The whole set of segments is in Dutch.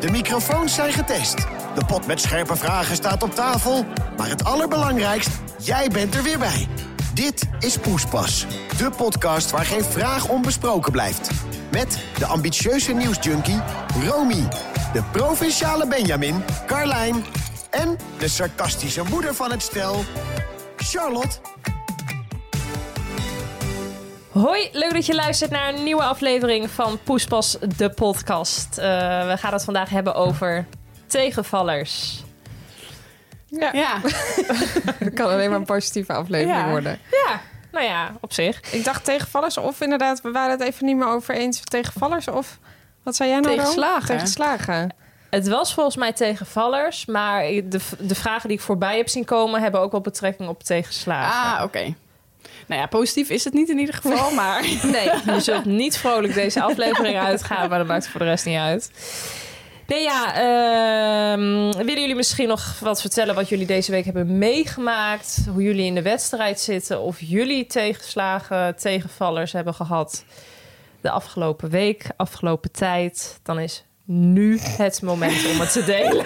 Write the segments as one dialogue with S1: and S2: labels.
S1: De microfoons zijn getest. De pot met scherpe vragen staat op tafel. Maar het allerbelangrijkst, jij bent er weer bij. Dit is Poespas, de podcast waar geen vraag onbesproken blijft. Met de ambitieuze nieuwsjunkie Romy, de provinciale Benjamin, Carlijn... en de sarcastische moeder van het stel, Charlotte.
S2: Hoi, leuk dat je luistert naar een nieuwe aflevering van Poespas, de podcast. Eh, we gaan het vandaag hebben over tegenvallers. Ja.
S3: Ja,
S4: Het kan alleen maar een positieve aflevering
S3: Ja.
S4: worden.
S2: nou ja, op zich.
S4: Ik dacht tegenvallers of inderdaad, we waren het even niet meer over eens. Tegenvallers of, wat zei jij nou? Ron?
S3: Tegenslagen.
S4: Tegenslagen.
S2: Het was volgens mij tegenvallers, maar de, de vragen die ik voorbij heb zien komen... hebben ook wel betrekking op tegenslagen.
S3: ah, oké. Nou ja, positief is het niet in ieder geval, maar...
S2: Nee, je zult niet vrolijk deze aflevering uitgaan, maar dat maakt voor de rest niet uit. Nee ja, ehm, willen jullie misschien nog wat vertellen wat jullie deze week hebben meegemaakt? Hoe jullie in de wedstrijd zitten of jullie tegenslagen, tegenvallers hebben gehad de afgelopen week, afgelopen tijd? Dan is nu het moment om het te delen.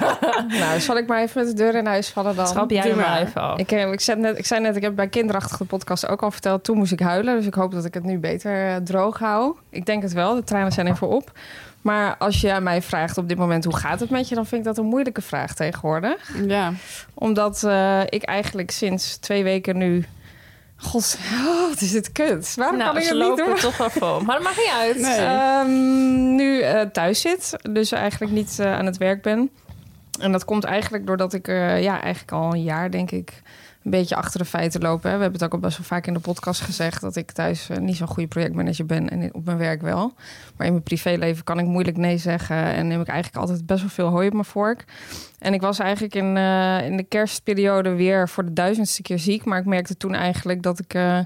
S4: Nou, zal ik maar even met de deur in huis vallen dan?
S2: Schrap jij er maar even af.
S4: Ik, eh, ik, zei net, ik zei net, ik heb bij kinderachtige podcast ook al verteld. Toen moest ik huilen, dus ik hoop dat ik het nu beter eh, droog hou. Ik denk het wel, de tranen zijn even op. Maar als je aan mij vraagt op dit moment hoe gaat het met je... dan vind ik dat een moeilijke vraag tegenwoordig.
S3: Ja,
S4: Omdat eh, ik eigenlijk sinds twee weken nu. God, oh, wat is dit kut? Waarom
S2: nou,
S4: kan ik
S2: ze
S4: het niet
S2: lopen
S4: doen?
S2: toch wel vol. Maar dat maakt niet uit.
S3: Nee.
S4: Ehm, nu eh, thuis zit, dus eigenlijk niet eh, aan het werk ben. En dat komt eigenlijk doordat ik eh, ja, eigenlijk al een jaar, denk ik, een beetje achter de feiten loop. Hè. We hebben het ook al best wel vaak in de podcast gezegd dat ik thuis eh, niet zo'n goede projectmanager ben en op mijn werk wel. Maar in mijn privéleven kan ik moeilijk nee zeggen en neem ik eigenlijk altijd best wel veel hooi op mijn vork. En ik was eigenlijk in, eh, in de kerstperiode weer voor de duizendste keer ziek, maar ik merkte toen eigenlijk dat ik... eh,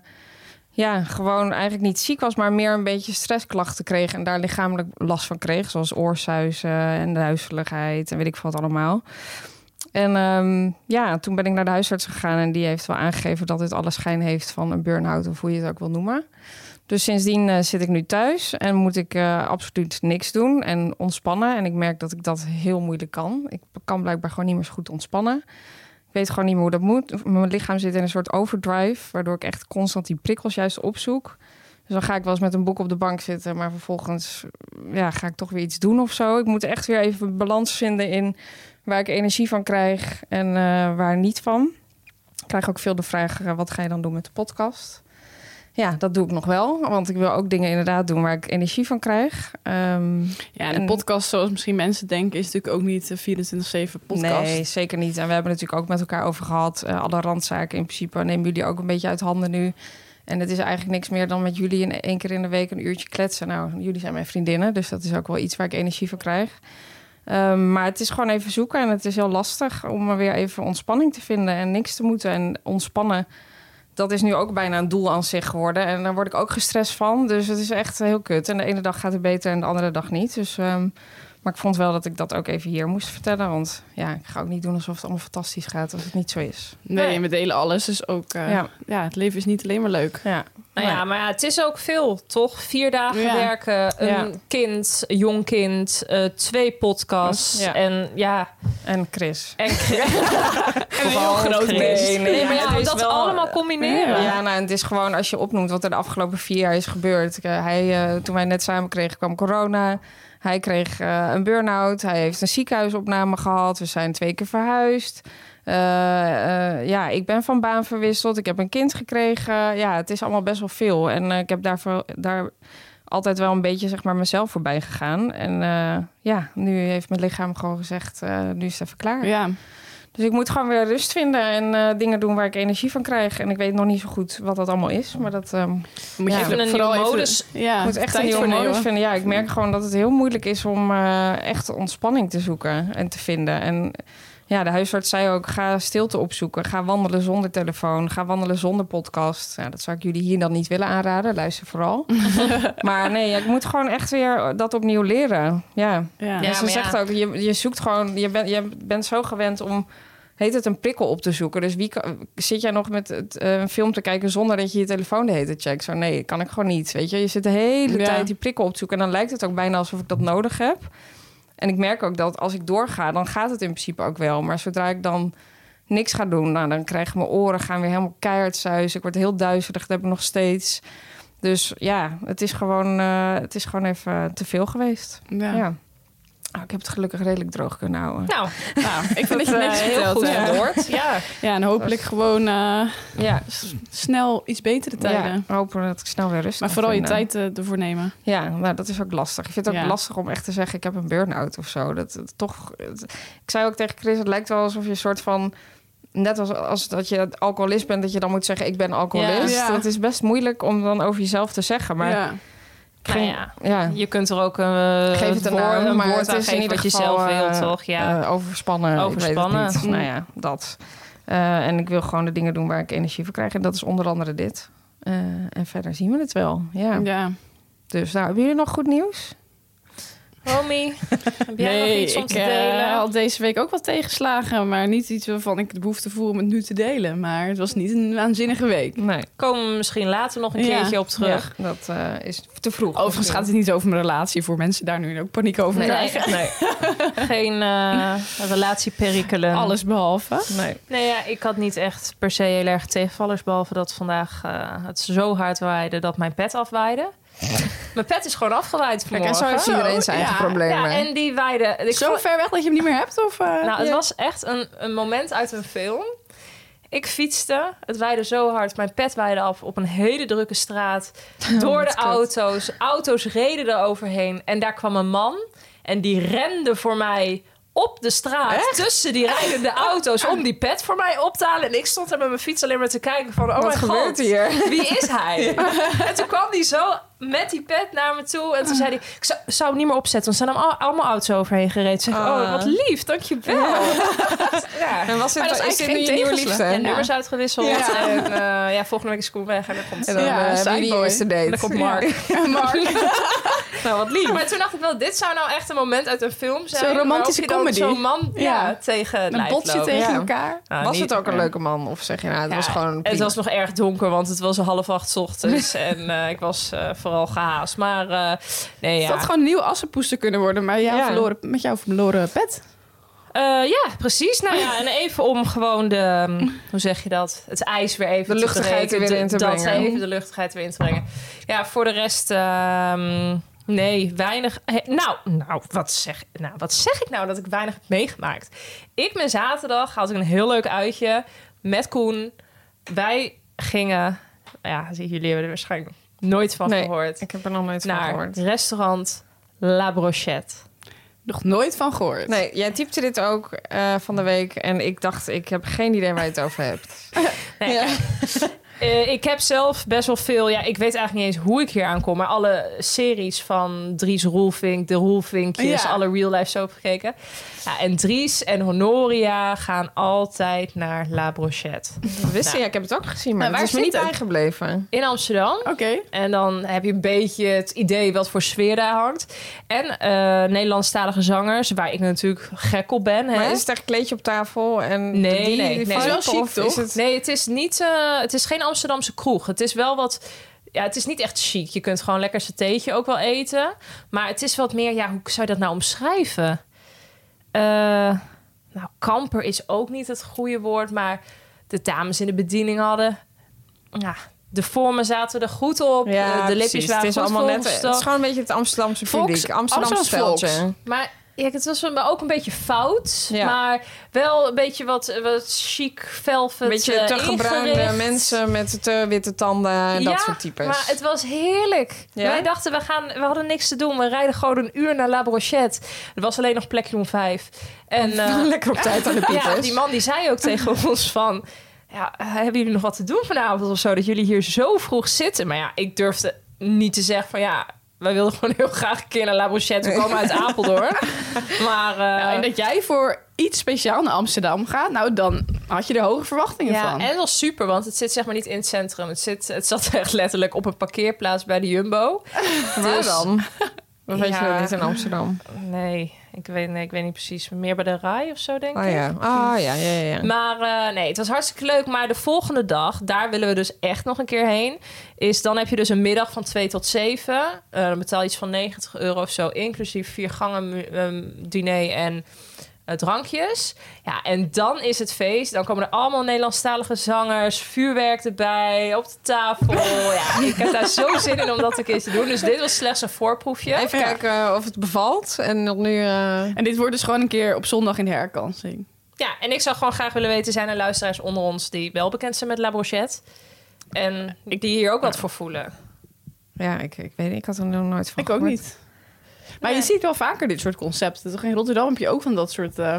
S4: ja, gewoon eigenlijk niet ziek was, maar meer een beetje stressklachten kreeg en daar lichamelijk last van kreeg, zoals oorsuizen en duizeligheid en weet ik veel wat allemaal. En ehm, ja, toen ben ik naar de huisarts gegaan en die heeft wel aangegeven dat dit alles schijn heeft van een burn-out of hoe je het ook wil noemen. Dus sindsdien eh, zit ik nu thuis en moet ik eh, absoluut niks doen en ontspannen. En ik merk dat ik dat heel moeilijk kan. Ik kan blijkbaar gewoon niet meer zo goed ontspannen. Ik weet gewoon niet meer hoe dat moet. Mijn lichaam zit in een soort overdrive, waardoor ik echt constant die prikkels juist opzoek. Dus dan ga ik wel eens met een boek op de bank zitten, maar vervolgens ja, ga ik toch weer iets doen of zo. Ik moet echt weer even balans vinden in waar ik energie van krijg en eh, waar niet van. Ik krijg ook veel de vraag, eh, wat ga je dan doen met de podcast? Ja, dat doe ik nog wel, want ik wil ook dingen inderdaad doen waar ik energie van krijg. Ehm,
S3: ja
S4: En-
S3: en een podcast, zoals misschien mensen denken, is natuurlijk ook niet een 24-7 podcast.
S4: Nee, zeker niet. En we hebben het natuurlijk ook met elkaar over gehad. Eh, alle randzaken in principe nemen jullie ook een beetje uit handen nu. En het is eigenlijk niks meer dan met jullie in één keer in de week een uurtje kletsen. Nou, jullie zijn mijn vriendinnen, dus dat is ook wel iets waar ik energie van krijg. Ehm, maar het is gewoon even zoeken en het is heel lastig om er weer even ontspanning te vinden en niks te moeten. En ontspannen, dat is nu ook bijna een doel aan zich geworden. En daar word ik ook gestrest van, dus het is echt heel kut. En de ene dag gaat het beter en de andere dag niet. Dus, ehm, maar ik vond wel dat ik dat ook even hier moest vertellen. Want ja, ik ga ook niet doen alsof het allemaal fantastisch gaat als het niet zo is.
S3: Nee,
S2: Nee.
S3: we delen alles, dus ook... eh, ja.
S4: Ja.
S3: het leven is niet alleen maar leuk.
S4: Ja,
S2: Nou ja, maar ja, het is ook veel, toch? Vier dagen
S3: Ja.
S2: werken, een
S4: Ja.
S2: kind, jong kind, eh, twee podcasts
S4: Ja.
S2: en ja...
S4: en Chris.
S2: En
S4: Vooral Chris.
S2: Nee, maar ja,
S4: het is
S2: dat
S4: wel-
S2: allemaal combineren.
S4: Ja, nou, en het is gewoon als je opnoemt wat er de afgelopen vier jaar is gebeurd. Eh, hij, eh, toen wij net samen kregen, kwam corona. Hij kreeg eh, een burn-out. Hij heeft een ziekenhuisopname gehad. We zijn twee keer verhuisd. Eh, eh, ja, ik ben van baan verwisseld. Ik heb een kind gekregen. Ja, het is allemaal best wel veel. En eh, ik heb daarvoor, daar altijd wel een beetje zeg maar, mezelf voorbij gegaan. En eh, ja, nu heeft mijn lichaam gewoon gezegd, eh, nu is het even klaar.
S3: Ja,
S4: Dus ik moet gewoon weer rust vinden en eh, dingen doen waar ik energie van krijg. En ik weet nog niet zo goed wat dat allemaal is, maar dat... ehm,
S3: moet je
S4: Ja.
S3: even
S2: Even een
S3: vooral
S2: nieuwe
S3: even-
S2: modus.
S3: Ja,
S4: ik moet echt
S3: Ah, tijd
S4: een
S3: voor
S4: nieuwe
S3: nemen.
S4: modus vinden. Ja, ik merk gewoon dat het heel moeilijk is om eh, echt ontspanning te zoeken en te vinden. En ja, de huisarts zei ook, ga stilte opzoeken. Ga wandelen zonder telefoon. Ga wandelen zonder podcast. Ja, dat zou ik jullie hier dan niet willen aanraden. Luister vooral. maar nee, ja, ik moet gewoon echt weer dat opnieuw leren. Ja,
S3: Ja.
S4: ja,
S2: Ja,
S4: Dus ze
S2: maar ja.
S4: zegt ook, je, je zoekt gewoon, je, bent je bent zo gewend om, heet het, een prikkel op te zoeken. Dus wie kan- zit jij nog met het, eh, een film te kijken zonder dat je je telefoon de hele tijd checkt? Zo, nee, kan ik gewoon niet, weet je. Je zit de hele
S3: Ja.
S4: tijd die prikkel op te zoeken en dan lijkt het ook bijna alsof ik dat nodig heb. En ik merk ook dat als ik doorga, dan gaat het in principe ook wel. Maar zodra ik dan niks ga doen, nou, dan krijgen mijn oren gaan weer helemaal keihard zuizen. Ik word heel duizelig, dat heb ik nog steeds. Dus ja, het is gewoon, eh, het is gewoon even te veel geweest.
S3: Ja.
S4: Ja. Oh, ik heb het gelukkig redelijk droog kunnen houden.
S2: Nou,
S3: Nou, ik vind dat je
S4: eh,
S3: niks
S4: heel
S3: verteld
S4: goed
S3: hebt.
S4: verwoord.
S2: ja.
S3: Ja, en hopelijk gewoon eh,
S4: Ja.
S3: s- snel iets betere tijden.
S4: ja, hopen dat ik snel weer rust
S3: Maar
S4: kan
S3: vooral je
S4: vinden.
S3: tijd eh, ervoor nemen.
S4: Ja, nou, dat is ook lastig. Ik vind het ook
S3: Ja.
S4: lastig om echt te zeggen... ik heb een burn-out of zo. Dat, dat toch, het- ik zei ook tegen Chris... het lijkt wel alsof je een soort van... net als, als dat je alcoholist bent... dat je dan moet zeggen, ik ben alcoholist.
S3: Ja. Ja.
S4: Dat is best moeilijk om dan over jezelf te zeggen. Maar
S3: ja.
S4: ik ging-
S2: Nou ja.
S4: ja,
S2: Je kunt er ook eh,
S4: Geef het een
S2: woord-
S4: naam,
S2: een
S4: maar
S2: woord
S4: het
S2: aan
S4: is in
S2: geven
S4: ieder
S2: wat je
S4: geval,
S2: zelf
S4: eh,
S2: wil, toch? Ja.
S4: eh, overspannen. Ik
S2: Overspannen. Mm.
S4: weet het niet. Nou ja, dat. Eh, en ik wil gewoon de dingen doen waar ik energie voor krijg. En dat is onder andere dit. Eh, en verder zien we het wel. Ja.
S3: ja.
S4: Dus nou, hebben jullie nog goed nieuws? eh,
S2: Homie, heb jij nog iets om
S3: ik
S2: te
S3: eh,
S2: delen?
S3: had deze week ook wat tegenslagen, maar niet iets waarvan ik de behoefte voel om het nu te delen. Maar het was niet een waanzinnige week.
S4: Nee.
S2: Komen we misschien later nog een
S3: Ja.
S2: keertje op terug.
S4: Ja, dat eh, is te vroeg.
S3: Overigens gaat het niet over mijn relatie, voor mensen daar nu ook paniek over
S4: Nee,
S3: krijgen.
S4: nee,
S2: Geen eh relatieperikelen.
S3: Alles behalve.
S4: nee.
S2: Nee, ja, ik had niet echt per se heel erg tegenvallers. Behalve dat vandaag eh, het zo hard waaide dat mijn pet afwaaide. mijn pet is gewoon afgewaaid
S4: Kijk, en
S2: vanmorgen.
S4: zo heeft iedereen zijn
S3: ja.
S4: eigen
S2: ja,
S4: problemen.
S2: en die waaide... Ik
S3: Zo
S2: vond-
S3: ver weg dat je hem niet meer hebt? Of, eh,
S2: Nou, het
S3: ja.
S2: was echt een, een moment uit een film. Ik fietste, het waaide zo hard, mijn pet waaide af op een hele drukke straat. Door de auto's, auto's reden er overheen. En daar kwam een man en die rende voor mij op de straat tussen die rijdende auto's om die pet voor mij op te halen. En ik stond daar met mijn fiets alleen maar te kijken van, oh
S4: Wat
S2: mijn
S4: gebeurt
S2: god,
S4: hier?
S2: wie is hij? En toen kwam hij zo met die pet naar me toe.
S4: Ah.
S2: En toen zei hij, ik zou, zou hem niet meer opzetten. Want er zijn allemaal, allemaal auto's overheen gereden. Zeg, ik,
S4: Ah.
S2: oh, wat lief, dankjewel. Ja.
S4: En was dit,
S2: Maar dat
S4: is,
S2: is eigenlijk
S4: dit nu
S2: geen
S4: je nieuwe
S2: tegenslag.
S4: liefde?
S2: En nummers uitgewisseld.
S4: Ja.
S2: En eh, ja, volgende week is Koen weg. En dan komt,
S4: En dan
S3: Ja,
S4: eh,
S3: Sideboy.
S4: wie die eerste date.
S2: en dan komt Mark.
S3: Mark.
S4: Nou, wat lief.
S2: Ja, maar toen dacht ik wel, dit zou nou echt een moment uit een film zijn.
S3: Zo'n romantische
S2: waarop je dan
S3: comedy.
S2: Zo'n man ja.
S3: Ja.
S2: tegen het
S3: Een
S2: lijf
S3: botje
S2: loopt.
S3: tegen
S4: Ja.
S3: elkaar.
S2: Nou,
S4: was
S2: niet-
S4: het ook een leuke man? Of zeg je nou, het was
S2: Ja,
S4: gewoon
S2: Het
S4: prima?
S2: was nog erg donker, want het was half acht 's ochtends. en eh, ik was eh, vooral gehaast. Maar eh, nee,
S3: Het
S2: ja.
S3: had gewoon een nieuw assenpoester kunnen worden, maar jou
S4: Ja.
S3: verloren, met jouw verloren pet.
S2: Eh, ja, precies. Nou ja, en even om gewoon de, hm, hoe zeg je dat? Het ijs weer even
S4: De
S2: te
S4: luchtigheid er
S2: breken.
S4: weer in te
S2: dat
S4: brengen.
S2: even de luchtigheid weer in te brengen. Ja, voor de rest, ehm, nee, weinig. he- nou, nou wat, zeg, nou, wat zeg ik nou dat ik weinig heb meegemaakt? Ik ben zaterdag, had ik een heel leuk uitje met Koen. Wij gingen, nou ja, zie- jullie hebben er waarschijnlijk nooit van
S4: Nee,
S2: gehoord.
S4: Ik heb er nog nooit van
S2: Naar
S4: gehoord.
S2: het restaurant La Brochette.
S3: Nog nooit van gehoord.
S4: Nee, jij typte dit ook eh, van de week. En ik dacht, ik heb geen idee waar je het over hebt.
S2: Nee, Eh, ik heb zelf best wel veel. Ja, ik weet eigenlijk niet eens hoe ik hier aankom. Maar alle series van Dries Roelvink, de Roelvinkjes,
S3: Ja.
S2: alle real life soap gekeken. Ja, en Dries en Honoria gaan altijd naar La Brochette
S4: Dat wist
S2: Nou.
S4: je, ja, ik heb het ook gezien, maar,
S3: Maar
S4: het is
S3: waar
S4: me niet
S3: zit het?
S4: bijgebleven.
S2: in Amsterdam.
S3: Oké.
S2: En dan heb je een beetje het idee wat voor sfeer daar hangt. En eh, Nederlandstalige zangers, waar ik natuurlijk gek op ben. Hè?
S4: Maar is het echt kleedje op tafel en
S2: Nee,
S4: die,
S2: nee, nee.
S4: die vibe,
S3: Wel chic,
S4: of
S3: toch?
S4: Is het...
S2: Nee, het is niet. eh, het is geen Amsterdamse kroeg. Het is wel wat. Ja, het is niet echt chic. Je kunt gewoon lekker zijn theetje ook wel eten. Maar het is wat meer. Ja, hoe zou je dat nou omschrijven? Eh, nou, kamper is ook niet het goede woord. Maar de dames in de bediening hadden. Ja, de vormen zaten er goed op. eh, de, de lipjes
S4: precies.
S2: waren
S4: het is
S2: goed
S4: allemaal net. Het
S2: volgestopt.
S4: is gewoon een beetje het Amsterdamse publiek.
S3: Volks-
S4: Amsterdamse
S3: Amsterdams volks.
S4: veldje.
S2: Maar Ja, het was een- ook een beetje fout,
S4: Ja.
S2: maar wel een beetje wat, wat chic velvet
S4: Een beetje
S2: eh,
S4: te gebruinde
S2: ingericht.
S4: mensen met te witte tanden en dat soort types.
S2: maar het was heerlijk.
S4: Ja?
S2: Wij dachten, we, gaan, we hadden niks te doen. We rijden gewoon een uur naar La Brochette. Er was alleen nog plekje om vijf. En eh,
S4: Lekker op tijd aan de
S2: ja, dus.
S4: piepers.
S2: die man die zei ook tegen ons van... Ja, eh, hebben jullie nog wat te doen vanavond of zo? Dat jullie hier zo vroeg zitten. Maar ja, ik durfde niet te zeggen van ja... Wij wilden gewoon heel graag een keer naar La Brochette. We komen uit Apeldoorn. Maar eh,
S3: en dat jij voor iets speciaal naar Amsterdam gaat, nou dan had je er hoge verwachtingen
S2: Ja,
S3: van.
S2: en het was super, want het zit zeg maar niet in het centrum. Het, zit, het zat echt letterlijk op een parkeerplaats bij de Jumbo.
S4: Waar dan? Dat weet je
S2: dus. Ja.
S4: wel niet in Amsterdam. Oh,
S2: Nee, ik weet, nee, ik weet niet precies. Meer bij de RAI of zo, denk
S4: Oh
S2: ik.
S4: ja. Ah ja, ja, ja. ja.
S2: Maar eh, nee, het was hartstikke leuk. Maar de volgende dag, daar willen we dus echt nog een keer heen. Is dan heb je dus een middag van 2 tot 7. Eh, dan betaal je iets van 90 euro of zo. Inclusief vier gangen mu- ehm, diner en eh, drankjes. Ja, en dan is het feest. Dan komen er allemaal Nederlandstalige zangers. Vuurwerk erbij, op de tafel. ja, ik heb daar zo zin in om dat een keer te doen. Dus dit was slechts een voorproefje.
S4: Even kijken eh, of het bevalt. En dan nu... eh,
S3: En dit wordt dus gewoon een keer op zondag in de herkansing.
S2: Ja, en ik zou gewoon graag willen weten... zijn er luisteraars onder ons die wel bekend zijn met La Brochette? En die hier ook wat voor voelen.
S4: Ja, ik, ik weet niet. Ik had er nog nooit van
S3: Ik ook
S4: gehoord.
S3: niet. Maar
S2: Nee.
S3: je ziet wel vaker dit soort concepten. Toch? In Rotterdam heb je ook van dat soort eh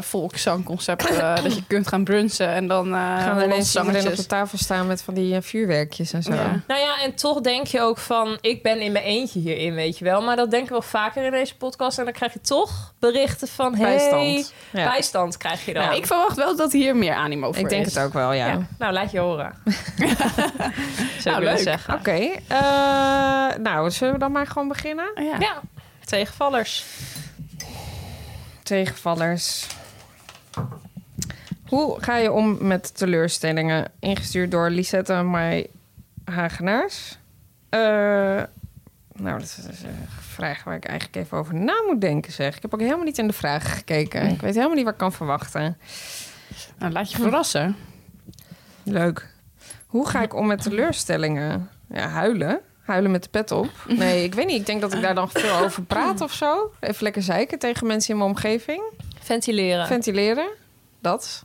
S3: volkszangconcepten. eh, dat je kunt gaan brunsen en dan eh
S4: Gaan we ineens iedereen op
S3: zangetjes.
S4: de tafel staan met van die eh, vuurwerkjes en zo.
S3: Ja.
S2: Nou ja, en toch denk je ook van... ik ben in mijn eentje hierin, weet je wel. Maar dat denken we wel vaker in deze podcast. En dan krijg je toch berichten van... Hey,
S4: Bijstand. Ja.
S2: bijstand krijg je dan.
S3: Nou, ik verwacht wel dat hier meer animo voor
S4: Ik denk
S3: is.
S4: het ook wel, ja.
S2: Ja, nou, laat je horen. Zou
S3: Nou,
S2: ik willen
S3: leuk.
S2: zeggen.
S4: Oké. eh, nou, zullen we dan maar gewoon beginnen?
S3: Oh Ja.
S2: Ja, tegenvallers.
S4: Tegenvallers. Hoe ga je om met teleurstellingen? Ingestuurd door Lisette en mij Hagenaars. Eh, nou, dat is een vraag waar ik eigenlijk even over na moet denken, zeg. Ik heb ook helemaal niet in de vraag gekeken. Ik weet helemaal niet wat ik kan verwachten.
S3: Nou, laat je verrassen.
S4: Leuk. Hoe ga ik om met teleurstellingen? Ja, huilen. Huilen met de pet op. Nee, ik weet niet. Ik denk dat ik daar dan veel over praat of zo. Even lekker zeiken tegen mensen in mijn omgeving.
S2: Ventileren.
S4: Ventileren. Dat,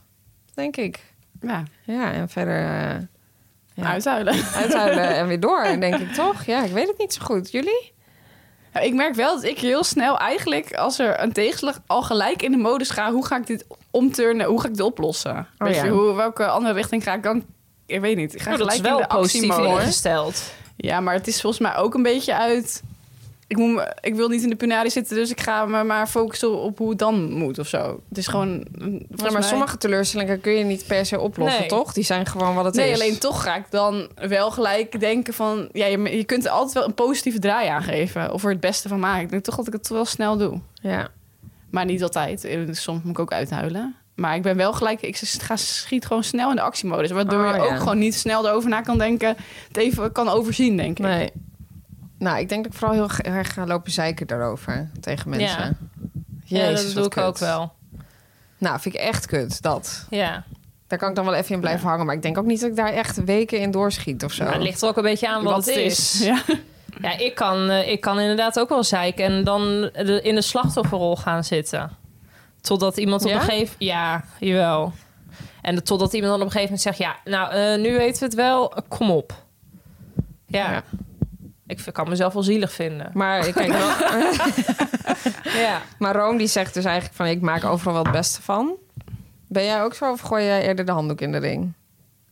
S4: denk ik.
S3: Ja,
S4: Ja, en verder eh, Ja.
S3: uithuilen.
S4: uithuilen en weer door, denk ik toch? Ja, ik weet het niet zo goed. Jullie?
S3: Ja, Ik merk wel dat ik heel snel eigenlijk, als er een tegenslag, al gelijk in de modus ga. Hoe ga ik dit omturnen? Hoe ga ik dit oplossen? Weet
S4: Oh ja. Oh,
S3: je, hoe, welke andere richting ga ik dan? Ik weet niet. Ik ga
S2: Nou, dat is
S3: gelijk in
S2: wel
S3: de actie
S2: positief
S3: hoor.
S2: ingesteld.
S3: Ja, maar het is volgens mij ook een beetje uit... Ik, moet, me- ik wil niet in de punari zitten, dus ik ga me maar focussen op hoe het dan moet of zo. Het is gewoon...
S4: Ja, maar
S3: mij-
S4: sommige teleurstellingen kun je niet per se oplossen,
S2: Nee.
S4: toch? Die zijn gewoon wat het
S3: Nee,
S4: is.
S3: alleen toch ga ik dan wel gelijk denken van... Ja, je, je kunt er altijd wel een positieve draai aan geven. Of er het beste van maken. Ik denk toch dat ik het wel snel doe.
S4: Ja.
S3: Maar niet altijd. Eh, Soms moet ik ook uithuilen. Maar ik ben wel gelijk... Ik ga schiet gewoon snel in de actiemodus. Waardoor
S4: Oh,
S3: je
S4: ja.
S3: ook gewoon niet snel erover na kan denken. Het even kan overzien, denk ik.
S4: Nee. Nou, ik denk dat ik vooral heel ge- erg ga lopen zeiken daarover tegen mensen.
S2: Ja,
S4: Jezus,
S2: dat
S4: wat
S2: doe ik
S4: kut.
S2: ook wel.
S4: Nou, vind ik echt kut, dat.
S2: Ja.
S4: Daar kan ik dan wel even in blijven hangen. Maar ik denk ook niet dat ik daar echt weken in doorschiet of zo.
S2: Maar het ligt er ook een beetje aan wat, het is.
S3: Ja.
S2: Ja, ik kan, eh, ik kan inderdaad ook wel zeiken en dan de- in de slachtofferrol gaan zitten. Totdat iemand op
S4: Ja?
S2: een gegeven Ja, jawel. En de- totdat iemand dan op een gegeven moment zegt... Ja, nou, eh, nu weten we het wel. eh, Kom op. Ja.
S4: Ja.
S2: Ik v- kan mezelf wel zielig vinden.
S4: Maar, ik kijk wel,
S2: Ja.
S4: maar Room die zegt dus eigenlijk van... ik maak overal wel het beste van. Ben jij ook zo of gooi jij eerder de handdoek in de ring?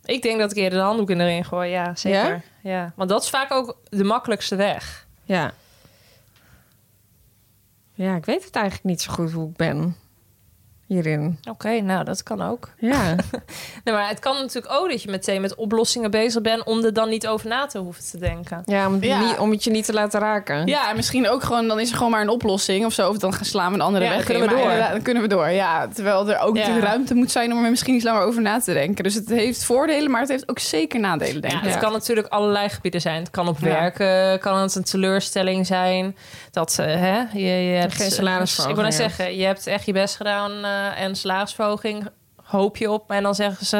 S2: Ik denk dat ik eerder de handdoek in de ring gooi. Ja, zeker. Ja? Want dat is vaak ook de makkelijkste weg.
S4: Ja. Ja, ik weet het eigenlijk niet zo goed hoe ik ben hierin.
S2: Oké, nou, dat kan ook.
S4: Ja,
S2: Nee, maar het kan natuurlijk ook dat je meteen met oplossingen bezig bent... om er dan niet over na te hoeven te denken.
S4: ja, om, het
S3: Ja.
S4: niet- om het je niet te laten raken.
S3: ja, en misschien ook gewoon... Dan is er gewoon maar een oplossing of zo. Of dan gaan slaan we een andere
S2: Ja, dan
S3: weg
S2: kunnen we
S3: in, maar
S2: door.
S3: inderdaad, Dan kunnen we door, ja. Terwijl er ook
S2: Ja.
S3: natuurlijk ruimte moet zijn om er misschien iets langer over na te denken. Dus het heeft voordelen, maar het heeft ook zeker nadelen, denk
S2: Ja,
S3: ik.
S2: het
S4: Ja.
S2: kan natuurlijk allerlei gebieden zijn. Het kan op
S3: Ja.
S2: werken, kan het een teleurstelling zijn. Dat eh, hè, je, je hebt eh,
S4: Geen salarisverhoging
S2: Ik wil net
S4: hebt.
S2: zeggen, je hebt echt je best gedaan eh, en salarisverhoging hoop je op. En dan zeggen ze: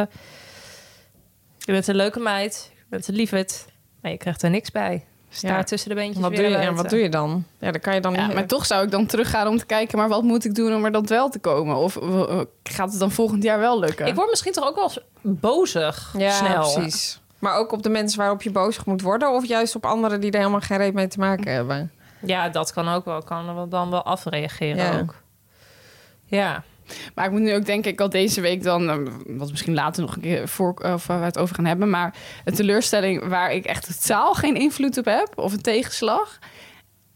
S2: Je bent een leuke meid, je bent een lieverd, maar je krijgt er niks bij. Staat
S4: Ja.
S2: tussen de beentjes
S4: Wat
S2: weer
S4: doe je,
S2: naar
S4: en
S2: buiten.
S4: wat doe je dan? Ja, dan kan je dan
S3: Ja,
S4: niet-
S3: maar toch zou ik dan teruggaan om te kijken, maar wat moet ik doen om er dan wel te komen? Of eh, gaat het dan volgend jaar wel lukken?
S2: Ik word misschien toch ook wel eens bozig
S4: ja,
S2: snel.
S4: precies. Maar ook op de mensen waarop je boos moet worden... of juist op anderen die er helemaal geen reet mee te
S3: Mm.
S4: maken hebben.
S2: Ja, dat kan ook wel. Kan er dan wel afreageren
S4: Ja.
S2: ook. Ja.
S3: Maar ik moet nu ook denk ik al deze week dan, eh, wat we misschien later nog een keer voor, eh, of waar we het over gaan hebben, maar een teleurstelling waar ik echt totaal geen invloed op heb of een tegenslag.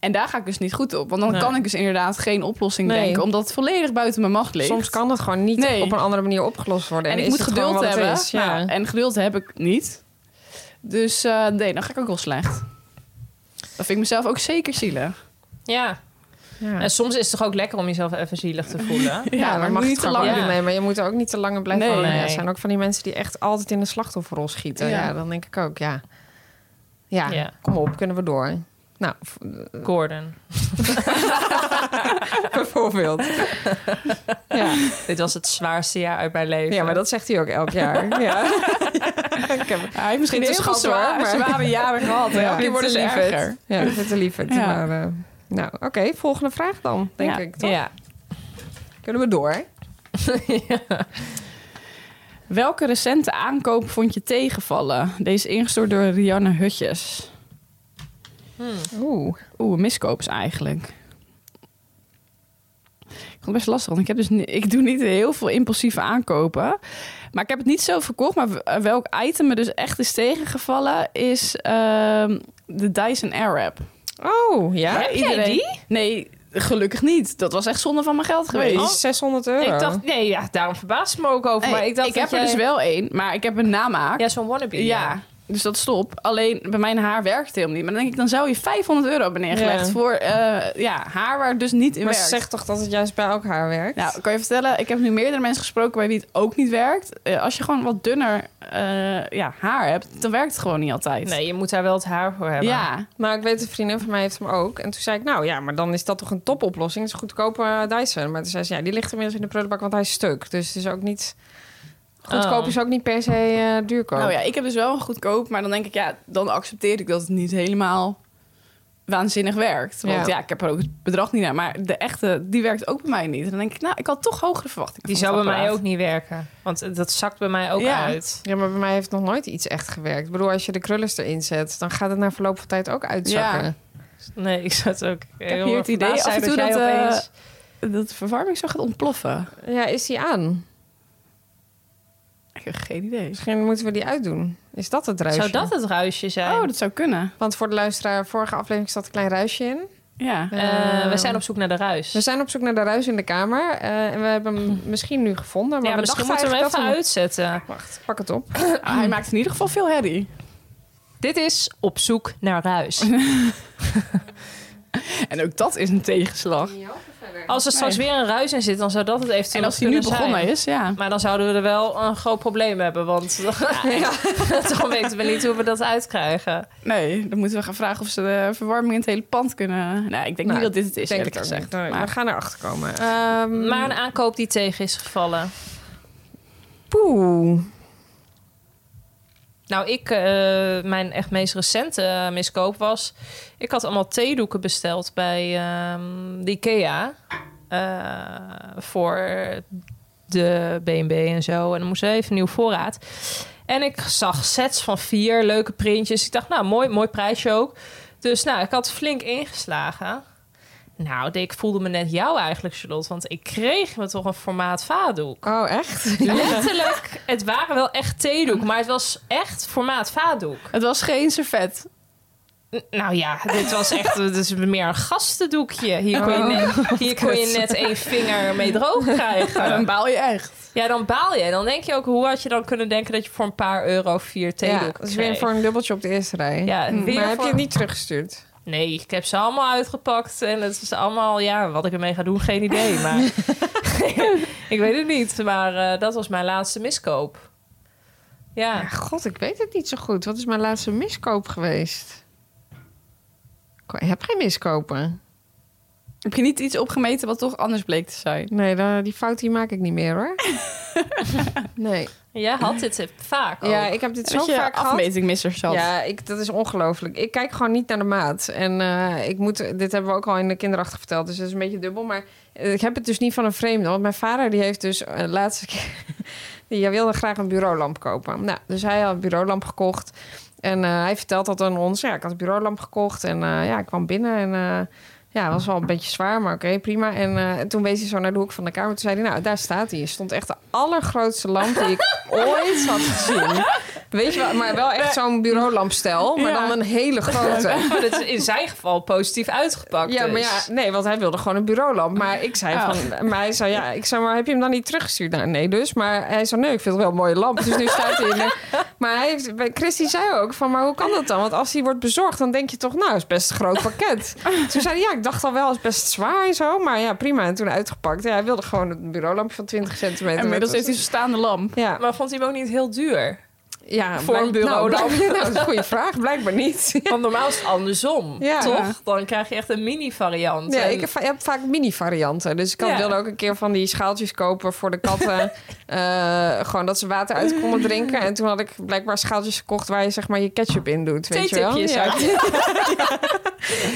S3: En daar ga ik dus niet goed op, want dan
S2: Nee.
S3: kan ik dus inderdaad geen oplossing
S4: Nee.
S3: denken, omdat het volledig buiten mijn macht ligt.
S4: Soms kan het gewoon niet
S3: Nee.
S4: op een andere manier opgelost worden.
S3: en ik
S4: is
S3: moet
S4: het gewoon
S3: geduld
S4: wat het
S3: hebben.
S4: is, ja.
S3: Nou, en geduld heb ik niet. Dus eh, nee, dan ga ik ook wel slecht. Dat vind ik mezelf ook zeker zielig.
S2: ja.
S4: Ja.
S2: En soms is het toch ook lekker om jezelf even zielig te voelen.
S4: Ja, daar
S3: maar
S4: mag
S3: moet je
S4: je
S3: niet
S4: niet
S3: te
S4: te lang
S2: lang-
S4: mee.
S2: Ja.
S4: Maar je moet er ook niet te lang in blijven
S3: Nee.
S4: hangen. Ja, er
S2: Nee.
S4: zijn ook van die mensen die echt altijd in de slachtofferrol schieten.
S3: Ja.
S4: Ja, dan denk ik ook, ja. ja.
S2: Ja.
S4: kom op, kunnen we door. Nou, v-
S2: Gordon.
S4: bijvoorbeeld. ja.
S2: Dit was het zwaarste jaar uit mijn leven.
S4: ja, maar dat zegt hij ook elk jaar. ja. ik heb
S3: Hij heeft misschien
S4: Het
S3: heel
S4: is
S3: veel
S4: schat, hoor,
S3: zwaar,
S4: maar-
S3: zware jaren gehad.
S4: Ja,
S3: Ja, die worden
S2: dus
S3: ze erger.
S4: Ja, ik vind het een lieverd.
S3: Ja.
S4: Maar, eh, nou, oké, volgende vraag dan, denk
S3: Ja.
S4: ik. Toch?
S2: ja.
S4: Kunnen we door?
S3: Welke recente aankoop vond je tegenvallen? Deze is ingestort door Rianne Hutjes. Hmm.
S4: Oeh.
S3: Oeh, een miskoop is eigenlijk. Ik vond het best lastig, want ik, heb dus ni- ik doe niet heel veel impulsieve aankopen. Maar ik heb het niet zo verkocht. Maar w- eh, welk item me dus echt is tegengevallen is ehm, de Dyson Airwrap.
S4: Oh, ja.
S2: Heb jij die?
S3: Nee, gelukkig niet. Dat was echt zonde van mijn geld geweest.
S4: Oh, 600 euro.
S2: Ik dacht, nee, ja, daarom verbaasde me ook over.
S3: Nee,
S2: maar ik dacht
S3: heb
S2: dat
S3: er
S2: jij-
S3: dus wel één, maar ik heb een namaak.
S2: Ja, zo'n wannabe.
S3: Ja. Dus dat stop. Alleen bij mijn haar werkt het helemaal niet. Maar dan denk ik, dan zou je 500 euro hebben neergelegd
S4: Ja.
S3: voor eh, ja, haar waar het dus niet in
S4: maar ze
S3: werkt.
S4: zegt toch dat het juist bij elk haar werkt?
S3: Nou, kan je vertellen, ik heb nu meerdere mensen gesproken bij wie het ook niet werkt. Eh, als je gewoon wat dunner eh, ja, haar hebt, dan werkt het gewoon niet altijd.
S2: Nee, je moet daar wel het haar voor hebben.
S3: Ja,
S4: Maar ik weet, een vriendin van mij heeft hem ook. En toen zei ik, nou ja, maar dan is dat toch een topoplossing. Het is een goedkope eh, Dyson. Maar toen zei ze, ja, die ligt inmiddels in de prullenbak, want hij is stuk. Dus het is ook niet... Goedkoop
S2: Oh.
S4: is ook niet per se eh, duurkoop.
S3: nou ja, ik heb dus wel een goedkoop, maar dan denk ik, ja, dan accepteer ik dat het niet helemaal waanzinnig werkt. Want ja,
S4: Ja.
S3: ik heb er ook het bedrag niet naar. Maar de echte, die werkt ook bij mij niet. En dan denk ik, nou, ik had toch hogere verwachtingen.
S2: Die
S3: van
S2: zou bij
S3: het
S2: mij
S3: apparaat.
S2: ook niet werken. Want dat zakt bij mij ook
S3: Ja.
S2: uit.
S4: Ja, maar bij mij heeft nog nooit iets echt gewerkt. Ik bedoel, als je de krullers erin zet, dan gaat het na verloop van tijd ook uitzakken.
S3: Ja.
S2: Nee, ik zat ook ik
S3: heb hier het idee af en
S2: dat,
S3: toe dat,
S2: jij
S3: eh,
S2: opeens...
S3: dat de verwarming zo gaat ontploffen.
S4: Ja, is die aan?
S3: Ik heb geen idee.
S4: Misschien moeten we die uitdoen. Is dat het ruisje?
S2: Zou dat het ruisje zijn?
S3: Oh, dat zou kunnen.
S4: Want voor de luisteraar, vorige aflevering zat een klein ruisje in.
S3: Ja.
S2: Eh, we zijn op zoek naar de ruis.
S4: We zijn op zoek naar de ruis in de kamer. eh, en we hebben hem misschien nu gevonden. Maar
S2: ja,
S4: we
S2: misschien
S4: dachten
S2: moeten we hem
S4: eigenlijk
S2: even
S4: dat we-
S2: uitzetten.
S4: Wacht, pak het op.
S3: Ah, hij maakt in ieder geval veel herrie.
S2: Dit is Op zoek naar ruis.
S3: En ook dat is een tegenslag.
S2: Als er straks weer een ruis in zit, dan zou dat het eventueel
S3: En als hij nu
S2: kunnen
S3: begonnen
S2: zijn.
S3: is, ja.
S2: Maar dan zouden we er wel een groot probleem hebben. Want dan weten we niet hoe we dat uitkrijgen.
S3: Nee, dan moeten we gaan vragen of ze de verwarming in het hele pand kunnen... Nou, ik denk
S4: Nou,
S3: niet dat dit het is,
S4: Denk
S3: eerlijk
S4: ik ook
S3: gezegd.
S4: niet. Nee,
S3: Maar-
S4: We gaan erachter komen. Ehm,
S2: Maar een aankoop die tegen is gevallen.
S4: poeh.
S2: Nou, ik, eh, mijn echt meest recente eh, miskoop was... Ik had allemaal theedoeken besteld bij ehm, de IKEA. eh, voor de B&B en zo. En dan moest er even nieuw voorraad. En ik zag sets van vier leuke printjes. Ik dacht, nou, mooi, mooi prijsje ook. Dus nou, ik had flink ingeslagen. Nou, ik voelde me net jou eigenlijk, Charlotte. Want ik kreeg me toch een formaat vaatdoek.
S4: Oh, echt?
S2: Letterlijk, het waren wel echt theedoeken, maar het was echt formaat vaatdoek.
S3: Het was geen servet.
S2: N- Nou ja, dit was echt dit is meer een gastendoekje. Hier kon je
S4: Oh,
S2: net, hier kon je net één vinger mee droog
S3: Maar dan
S2: krijgen.
S3: baal je echt.
S2: Ja, dan baal je. En dan denk je ook, hoe had je dan kunnen denken dat je voor een paar euro vier
S4: Ja,
S2: theedoeken
S4: dat is weer
S2: kreeg?
S4: voor een dubbeltje op de eerste rij.
S2: Ja, weer
S4: maar heb je
S2: voor-
S4: het niet teruggestuurd?
S2: Nee, ik heb ze allemaal uitgepakt. En het is allemaal, ja, wat ik ermee ga doen, geen idee. Maar ik weet het niet. Maar eh, dat was mijn laatste miskoop. Ja.
S4: Ja, god, ik weet het niet zo goed. Wat is mijn laatste miskoop geweest? Ik heb geen miskopen.
S3: Heb je niet iets opgemeten wat toch anders bleek te zijn?
S4: Nee, da- die fout die maak ik niet meer hoor. nee.
S2: Jij had dit vaak ook.
S4: Ja, ik heb dit zo
S3: Oh. dat je
S4: vaak gehad.
S3: afmeting mist er zelf.
S4: Ja, ik, dat is ongelooflijk. Ik kijk gewoon niet naar de maat. En eh, ik moet, dit hebben we ook al in de kinderachtig verteld, dus dat is een beetje dubbel. Maar eh, ik heb het dus niet van een vreemde. Want mijn vader die heeft dus eh, de laatste keer... die wilde graag een bureaulamp kopen. Nou, dus hij had een bureaulamp gekocht. En eh, hij vertelt dat aan ons. Ja, ik had een bureaulamp gekocht en eh, ja, ik kwam binnen en... eh, ja, was wel een beetje zwaar, maar oké, prima. En eh, toen wees hij zo naar de hoek van de kamer. Toen zei hij, nou, daar staat hij. Er stond echt de allergrootste lamp die ik ooit had gezien. Weet je wel, maar wel echt zo'n bureaulampstel. Maar
S3: Ja.
S4: dan een hele grote.
S2: Maar dat is in zijn geval positief uitgepakt.
S4: Ja, maar
S2: dus.
S4: ja, nee, want hij wilde gewoon een bureaulamp. Maar ik zei
S3: Oh.
S4: van, maar hij zei ja, ik zei maar, heb je hem dan niet teruggestuurd? Nou, nee, dus. Maar hij zei nee, ik vind het wel een mooie lamp. Dus nu staat hij. in de- Maar hij heeft, bij- Christy zei ook van, maar hoe kan dat dan? Want als die wordt bezorgd, dan denk je toch, nou, is best een groot pakket. Toen zei hij ja, ik dacht al wel, is best zwaar en zo. Maar ja, prima. En toen uitgepakt. Ja, hij wilde gewoon een bureaulampje van 20 centimeter.
S3: En inmiddels
S4: Met-
S3: heeft hij zo'n staande lamp.
S4: ja,
S2: Maar vond hij hem ook niet heel duur?
S4: ja,
S2: voor een
S4: blijk- nou,
S2: bureaulamp.
S4: blijk- nou, dat is een goede vraag. Blijkbaar niet.
S2: Want normaal is het andersom,
S4: Ja.
S2: toch? Dan krijg je echt een mini-variant.
S4: Ja,
S2: En-
S4: ik heb, va- heb vaak mini-varianten. Dus ik had,
S2: eh, Ja.
S4: wilde ook een keer van die schaaltjes kopen voor de katten. Eh, gewoon dat ze water uit konden drinken. En toen had ik blijkbaar schaaltjes gekocht waar je zeg maar je ketchup in doet. Weet je wel?
S2: Theetipjes uit.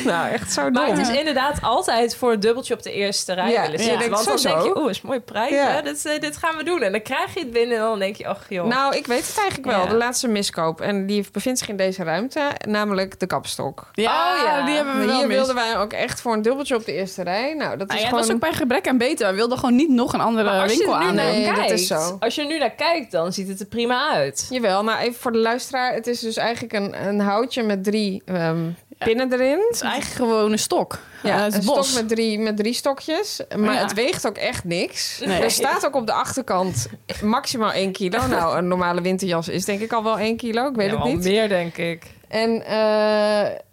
S4: Nou, echt zo dom.
S2: Maar het is inderdaad altijd voor een dubbeltje op de eerste rij
S4: Ja,
S2: willen
S4: je
S2: zitten.
S4: denkt
S2: Want dan
S4: sowieso.
S2: denk je, oeh, is een mooie prijs.
S4: Ja.
S2: Hè? Dit, eh, dit gaan we doen. En dan krijg je het binnen en dan denk je, ach joh.
S4: Nou, ik weet het eigenlijk wel.
S2: Ja.
S4: De laatste miskoop. En die bevindt zich in deze ruimte, namelijk de kapstok. Nou,
S2: Oh ja,
S3: die hebben we wel
S4: Hier
S3: mist.
S4: wilden wij ook echt voor een dubbeltje op de eerste rij. Nou, dat is
S3: Nou ja, het
S4: gewoon...
S3: was ook bij gebrek aan beter. We wilden gewoon niet nog een andere
S2: Maar als je
S3: winkel
S2: er nu
S3: aan.
S2: naar
S4: eh, Nee, dat
S2: kijkt,
S4: is zo.
S2: als je er nu naar kijkt, dan ziet het er prima uit.
S4: Jawel, maar even voor de luisteraar. Het is dus eigenlijk een, een houtje met drie ehm, pinnen erin.
S3: Het is eigenlijk gewoon een stok. Ja,
S4: Ja,
S3: het
S4: een
S3: is bos.
S4: stok met drie, met drie stokjes. Maar
S3: Ja.
S4: het weegt ook echt niks.
S3: Nee.
S4: Er staat ook op de achterkant maximaal 1 kilo. Nou, een normale winterjas is denk ik al wel 1 kilo. Ik weet
S2: Ja,
S4: het
S2: wel
S4: niet.
S2: meer, denk ik.
S4: En eh,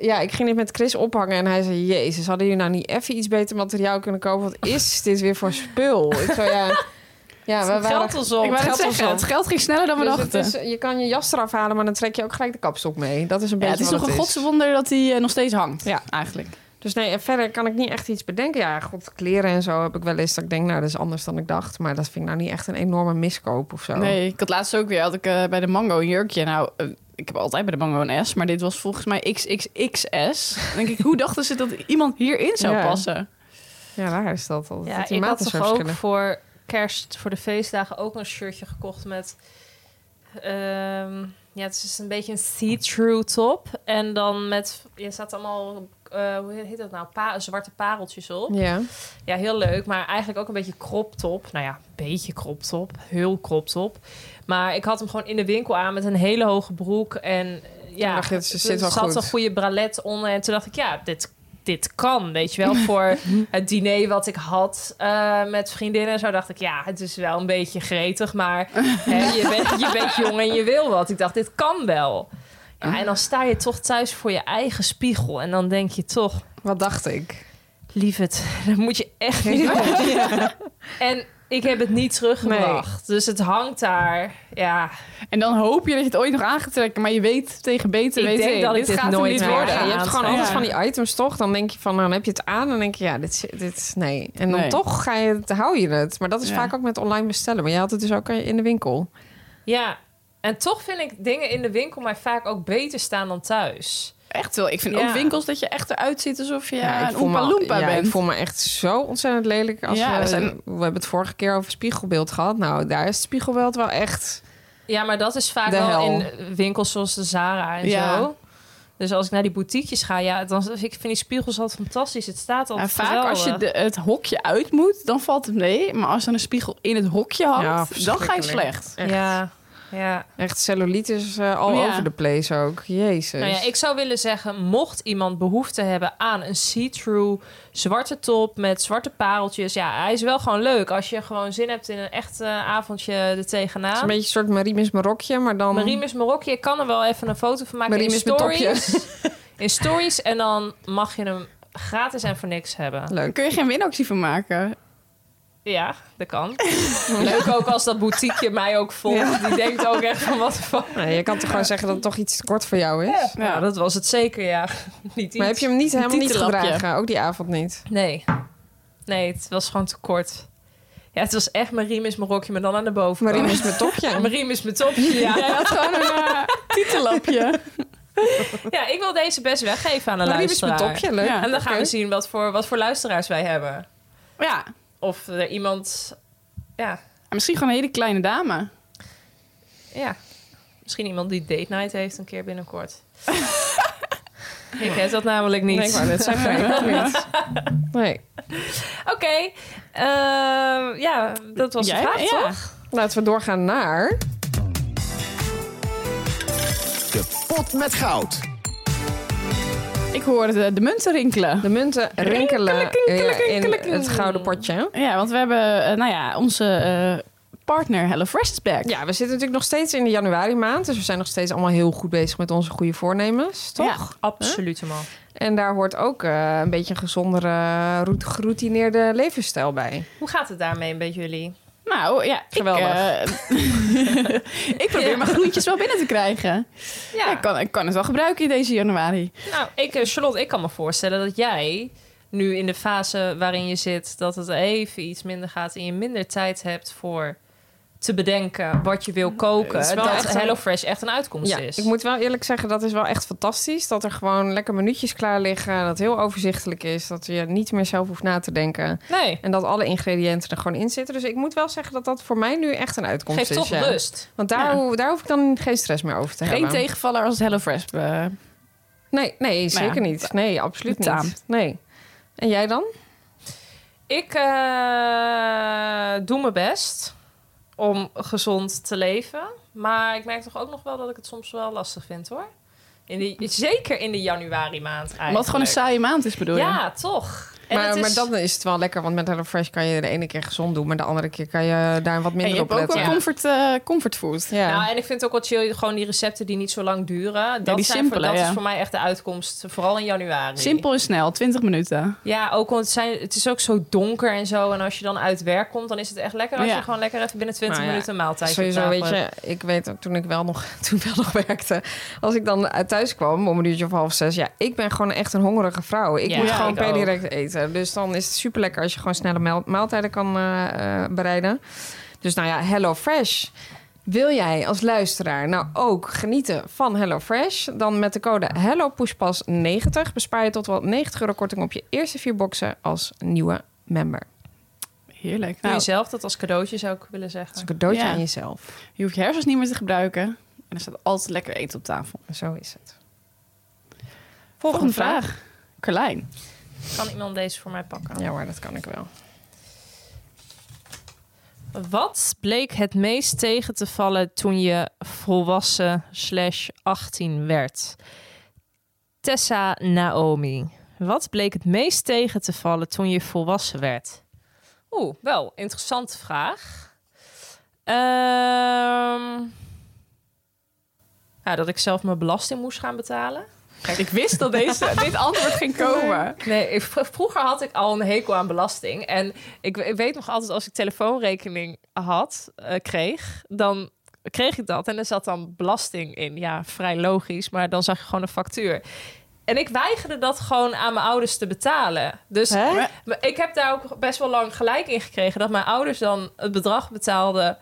S4: ja, ik ging dit met Chris ophangen. En hij zei, jezus, hadden jullie nou niet even iets beter materiaal kunnen kopen? Wat is dit weer voor spul? Ik zei, ja... Ja, we waren...
S2: Geld ons op.
S3: Ik wou net
S4: geld
S3: zeggen,
S4: ons
S3: het geld ging sneller dan we
S4: Dus het
S3: dachten.
S4: is, je kan je jas eraf halen, maar dan trek je ook gelijk de kapstok mee. Dat is een
S3: ja, het
S4: beetje
S3: is
S4: wat
S3: toch een
S4: het
S3: godswonder dat hij eh, nog steeds hangt.
S4: Ja.
S3: eigenlijk.
S4: Dus nee, en verder kan ik niet echt iets bedenken. Ja, god, kleren en zo heb ik wel eens dat ik denk, nou, dat is anders dan ik dacht. Maar dat vind ik nou niet echt een enorme miskoop of zo.
S3: Nee, ik had laatst ook weer had ik, eh, bij de Mango een jurkje. Nou, eh, ik heb altijd bij de Mango een S, maar dit was volgens mij XXXS. Dan denk ik, hoe dachten ze dat iemand hierin zou
S4: Ja.
S3: passen?
S4: Ja, raar is dat. dat
S2: Ja,
S4: dat die
S2: ik had
S4: maten zo
S2: toch ook
S4: verschillen.
S2: voor kerst, voor de feestdagen, ook een shirtje gekocht met... ehm, ja, het is dus een beetje een see-through top. En dan met... Je staat allemaal... eh, hoe heet dat nou? Pa- zwarte pareltjes op.
S4: Ja,
S2: Ja, heel leuk. Maar eigenlijk ook een beetje crop top. Nou ja, een beetje crop top. Heel crop top. Maar ik had hem gewoon in de winkel aan met een hele hoge broek. En eh, ja,
S4: dacht je, het zit
S2: er
S4: wel
S2: zat
S4: goed.
S2: een goede bralet onder. En toen dacht ik, ja, dit, dit kan. Weet je wel, voor het diner wat ik had eh, met vriendinnen en zo dacht ik, ja, het is wel een beetje gretig. Maar hè, je, bent, je bent jong en je wil wat. Ik dacht, dit kan wel.
S4: Ah.
S2: Ja, en dan sta je toch thuis voor je eigen spiegel. En dan denk je toch,
S4: wat dacht ik?
S2: Lief het, dat moet je echt niet doen. En ik heb het niet teruggebracht. Dus het hangt daar. Ja,
S3: En dan hoop je dat je het ooit nog aan gaat trekken, maar je weet tegen beter
S2: Ik
S3: weet
S2: denk dat ik dit
S3: gaat hem
S2: nooit
S3: niet
S2: meer
S3: worden.
S4: Ja, je hebt
S2: aantrek.
S4: gewoon
S3: Ja.
S4: altijd van die items, toch? Dan denk je van, nou, dan heb je het aan. En dan denk je, ja, dit, is- dit is- nee. En dan
S3: Nee.
S4: toch ga je, het- hou je het. Maar dat is
S3: Ja.
S4: vaak ook met online bestellen. Maar je had het dus ook in de winkel.
S2: ja. En toch vind ik dingen in de winkel mij vaak ook beter staan dan thuis.
S3: Echt wel. Ik vind
S2: Ja.
S3: ook winkels dat je echt eruit ziet alsof je een
S4: ik voel me-
S3: Oompa Loompa
S4: ja,
S3: bent.
S4: ik voel me echt zo ontzettend lelijk. Als
S3: Ja,
S4: we,
S3: zijn-
S4: we hebben het vorige keer over spiegelbeeld gehad. Nou, daar is het spiegelbeeld wel echt...
S2: Ja, maar dat is vaak
S4: De
S2: wel
S4: hel.
S2: in winkels zoals de Zara en
S3: Ja.
S2: zo. Dus als ik naar die boutiquejes ga, ja, dan ik vind die spiegels altijd fantastisch. Het staat
S3: Ja,
S2: altijd
S3: Nou, vaak
S2: geweldig.
S3: als je de- het hokje uit moet, dan valt het mee. Maar als er een spiegel in het hokje
S4: Ja,
S3: hangt, dan ga je
S4: verschrikkelijk.
S3: slecht.
S4: Echt.
S2: Ja, ja.
S4: Echt cellulitis eh, al
S3: Ja.
S4: over de place ook. Jezus.
S2: Nou ja, ik zou willen zeggen, mocht iemand behoefte hebben aan een see-through zwarte top met zwarte pareltjes. Ja, hij is wel gewoon leuk als je gewoon zin hebt in een echt eh, avondje er
S4: Het is
S2: tegenaan.
S4: een beetje een soort Marimis Marokje, maar dan...
S2: Marimus Marokje, ik kan er wel even een foto van maken
S4: Marimis
S2: in
S4: met
S2: stories. In stories en dan mag je hem gratis en voor niks hebben.
S3: Daar kun je geen winactie van maken.
S2: Ja, dat kan. Leuk ook als dat boutiqueje mij ook volgt. Die denkt ook echt van wat de fuck.
S4: Nou, je kan toch gewoon zeggen dat het toch iets te kort voor jou is?
S2: Ja, dat was het zeker, ja. Niet iets.
S4: Maar heb je hem niet helemaal niet
S3: titellapje.
S4: gedragen? Ook die avond niet?
S2: Nee. Nee, het was gewoon te kort. Ja, het was echt mijn riem is mijn rokje, maar dan aan de bovenkant.
S4: Marien is mijn topje.
S2: Mijn riem is mijn topje, ja.
S3: Jij had gewoon een eh, titellapje.
S2: Ja, ik wil deze best weggeven aan een
S4: Marien is mijn
S2: luisteraar.
S4: topje, leuk.
S3: Ja.
S2: En dan gaan
S4: Oké.
S2: we zien wat voor, wat voor luisteraars wij hebben.
S3: Ja,
S2: Of er iemand... Ja,
S3: misschien gewoon een hele kleine dame.
S2: ja. Misschien iemand die date night heeft een keer binnenkort. ik heb dat namelijk niet.
S4: Nee, ik wou net zeggen. Nee.
S2: Oké. ehm, ja, dat was
S3: Jij?
S2: de vraag,
S3: Ja.
S2: toch?
S4: Laten we doorgaan naar...
S1: De pot met goud.
S3: Ik hoorde de, de munten rinkelen.
S4: De munten rinkelen
S2: Rinkelen,
S4: eh, in
S2: rinkelen.
S4: het gouden potje.
S3: Ja, want we hebben, eh, nou ja, onze eh, partner HelloFresh is back.
S4: Ja, we zitten natuurlijk nog steeds in de januari maand. Dus we zijn nog steeds allemaal heel goed bezig met onze goede voornemens. Toch?
S3: Ja.
S2: Absoluut, man.
S4: En daar hoort ook eh, een beetje een gezondere, roet- geroutineerde levensstijl bij.
S2: Hoe gaat het daarmee een beetje jullie?
S3: Nou ja, ik,
S4: Geweldig.
S3: eh, ik probeer mijn groentjes wel binnen te krijgen. Ja, ik, kan, ik kan het wel gebruiken in deze januari.
S2: Nou, ik, eh, Charlotte, ik kan me voorstellen dat jij nu in de fase waarin je zit, dat het even iets minder gaat en je minder tijd hebt voor te bedenken wat je wil koken.
S4: Het is wel
S2: dat
S4: echt een-
S2: HelloFresh echt een uitkomst
S4: Ja,
S2: is.
S4: ik moet wel eerlijk zeggen, dat is wel echt fantastisch. Dat er gewoon lekker minuutjes klaar liggen. Dat het heel overzichtelijk is. Dat je niet meer zelf hoeft na te denken.
S2: Nee,
S4: En dat alle ingrediënten er gewoon in zitten. Dus ik moet wel zeggen dat dat voor mij nu echt een uitkomst
S2: geeft
S4: is.
S2: toch
S4: ja.
S2: rust.
S4: Want daar, ho- daar hoef ik dan geen stress meer over te
S3: Geen
S4: hebben.
S3: tegenvaller als het HelloFresh. eh,
S4: Nee, nee
S3: Nou ja,
S4: zeker niet. Nee, absoluut
S3: betaamt.
S4: niet. Nee. En jij dan?
S2: Ik eh, doe mijn best om gezond te leven. Maar ik merk toch ook nog wel dat ik het soms wel lastig vind hoor. In die, zeker in de januari maand eigenlijk.
S3: wat gewoon een saaie maand is, bedoel je?
S2: Ja, toch. En
S4: Maar,
S2: het is-
S4: maar dan is het wel lekker, want met HelloFresh kan je de ene keer gezond doen, maar de andere keer kan je daar wat
S3: En
S4: minder
S3: je
S4: op
S3: hebt
S4: letten.
S3: ook wel
S2: Ja.
S3: comfort, eh, comfortfood.
S4: Ja.
S2: Nou, en ik vind het ook wel chill, gewoon die recepten die niet zo lang duren. Dat,
S3: die
S2: zijn
S3: simpele,
S2: voor, dat
S3: ja.
S2: is voor mij echt de uitkomst, vooral in januari.
S3: Simpel en snel, 20 minuten.
S2: Ja, ook want het, zijn, het is ook zo donker en zo. En als je dan uit werk komt, dan is het echt lekker als
S3: Ja.
S2: je gewoon lekker even binnen 20
S4: Nou ja,
S2: minuten een maaltijd op
S4: Sowieso,
S2: tafel
S4: weet
S2: hebt.
S4: je, ik weet ook toen ik wel nog, toen ik wel nog werkte. Als ik dan uit thuis kwam om een uurtje of half zes. Ja, ik ben gewoon echt een hongerige vrouw. Ik
S2: Ja,
S4: moet
S2: ja,
S4: gewoon
S2: ik
S4: per
S2: ook.
S4: direct eten. Dus dan is het super lekker als je gewoon snelle maal- maaltijden kan eh, eh, bereiden. Dus nou ja, Hello Fresh. Wil jij als luisteraar nou ook genieten van HelloFresh? Dan met de code HelloPushpas90 bespaar je tot wel 90 euro korting op je eerste vier boxen als nieuwe member. Dus
S3: Heerlijk.
S2: Doe
S3: Nou,
S2: jezelf dat als cadeautje, zou ik willen
S4: Dat is
S2: zeggen.
S4: een cadeautje
S3: Ja.
S4: aan jezelf.
S3: je hoeft je hersens niet meer te gebruiken. En er staat altijd lekker eten op tafel.
S4: Zo is het.
S3: Volgende, vraag. Carlijn.
S2: Kan iemand deze voor mij pakken?
S4: Ja, maar dat kan ik wel.
S2: Wat bleek het meest tegen te vallen toen je volwassen slash 18 werd? Tessa Naomi. Wat bleek het meest tegen te vallen toen je volwassen werd? Oeh, wel, interessante vraag. Ehm, nou, dat ik zelf mijn belasting moest gaan betalen.
S3: Ik wist dat deze, dit antwoord ging komen.
S2: Nee, ik- v- vroeger had ik al een hekel aan belasting. En ik, ik weet nog altijd, als ik telefoonrekening had, eh, kreeg, dan kreeg ik dat. En er zat dan belasting in. Ja, vrij logisch, maar dan zag je gewoon een factuur. En ik weigerde dat gewoon aan mijn ouders te betalen. Dus
S4: Hè?
S2: maar ik heb daar ook best wel lang gelijk in gekregen dat mijn ouders dan het bedrag betaalden.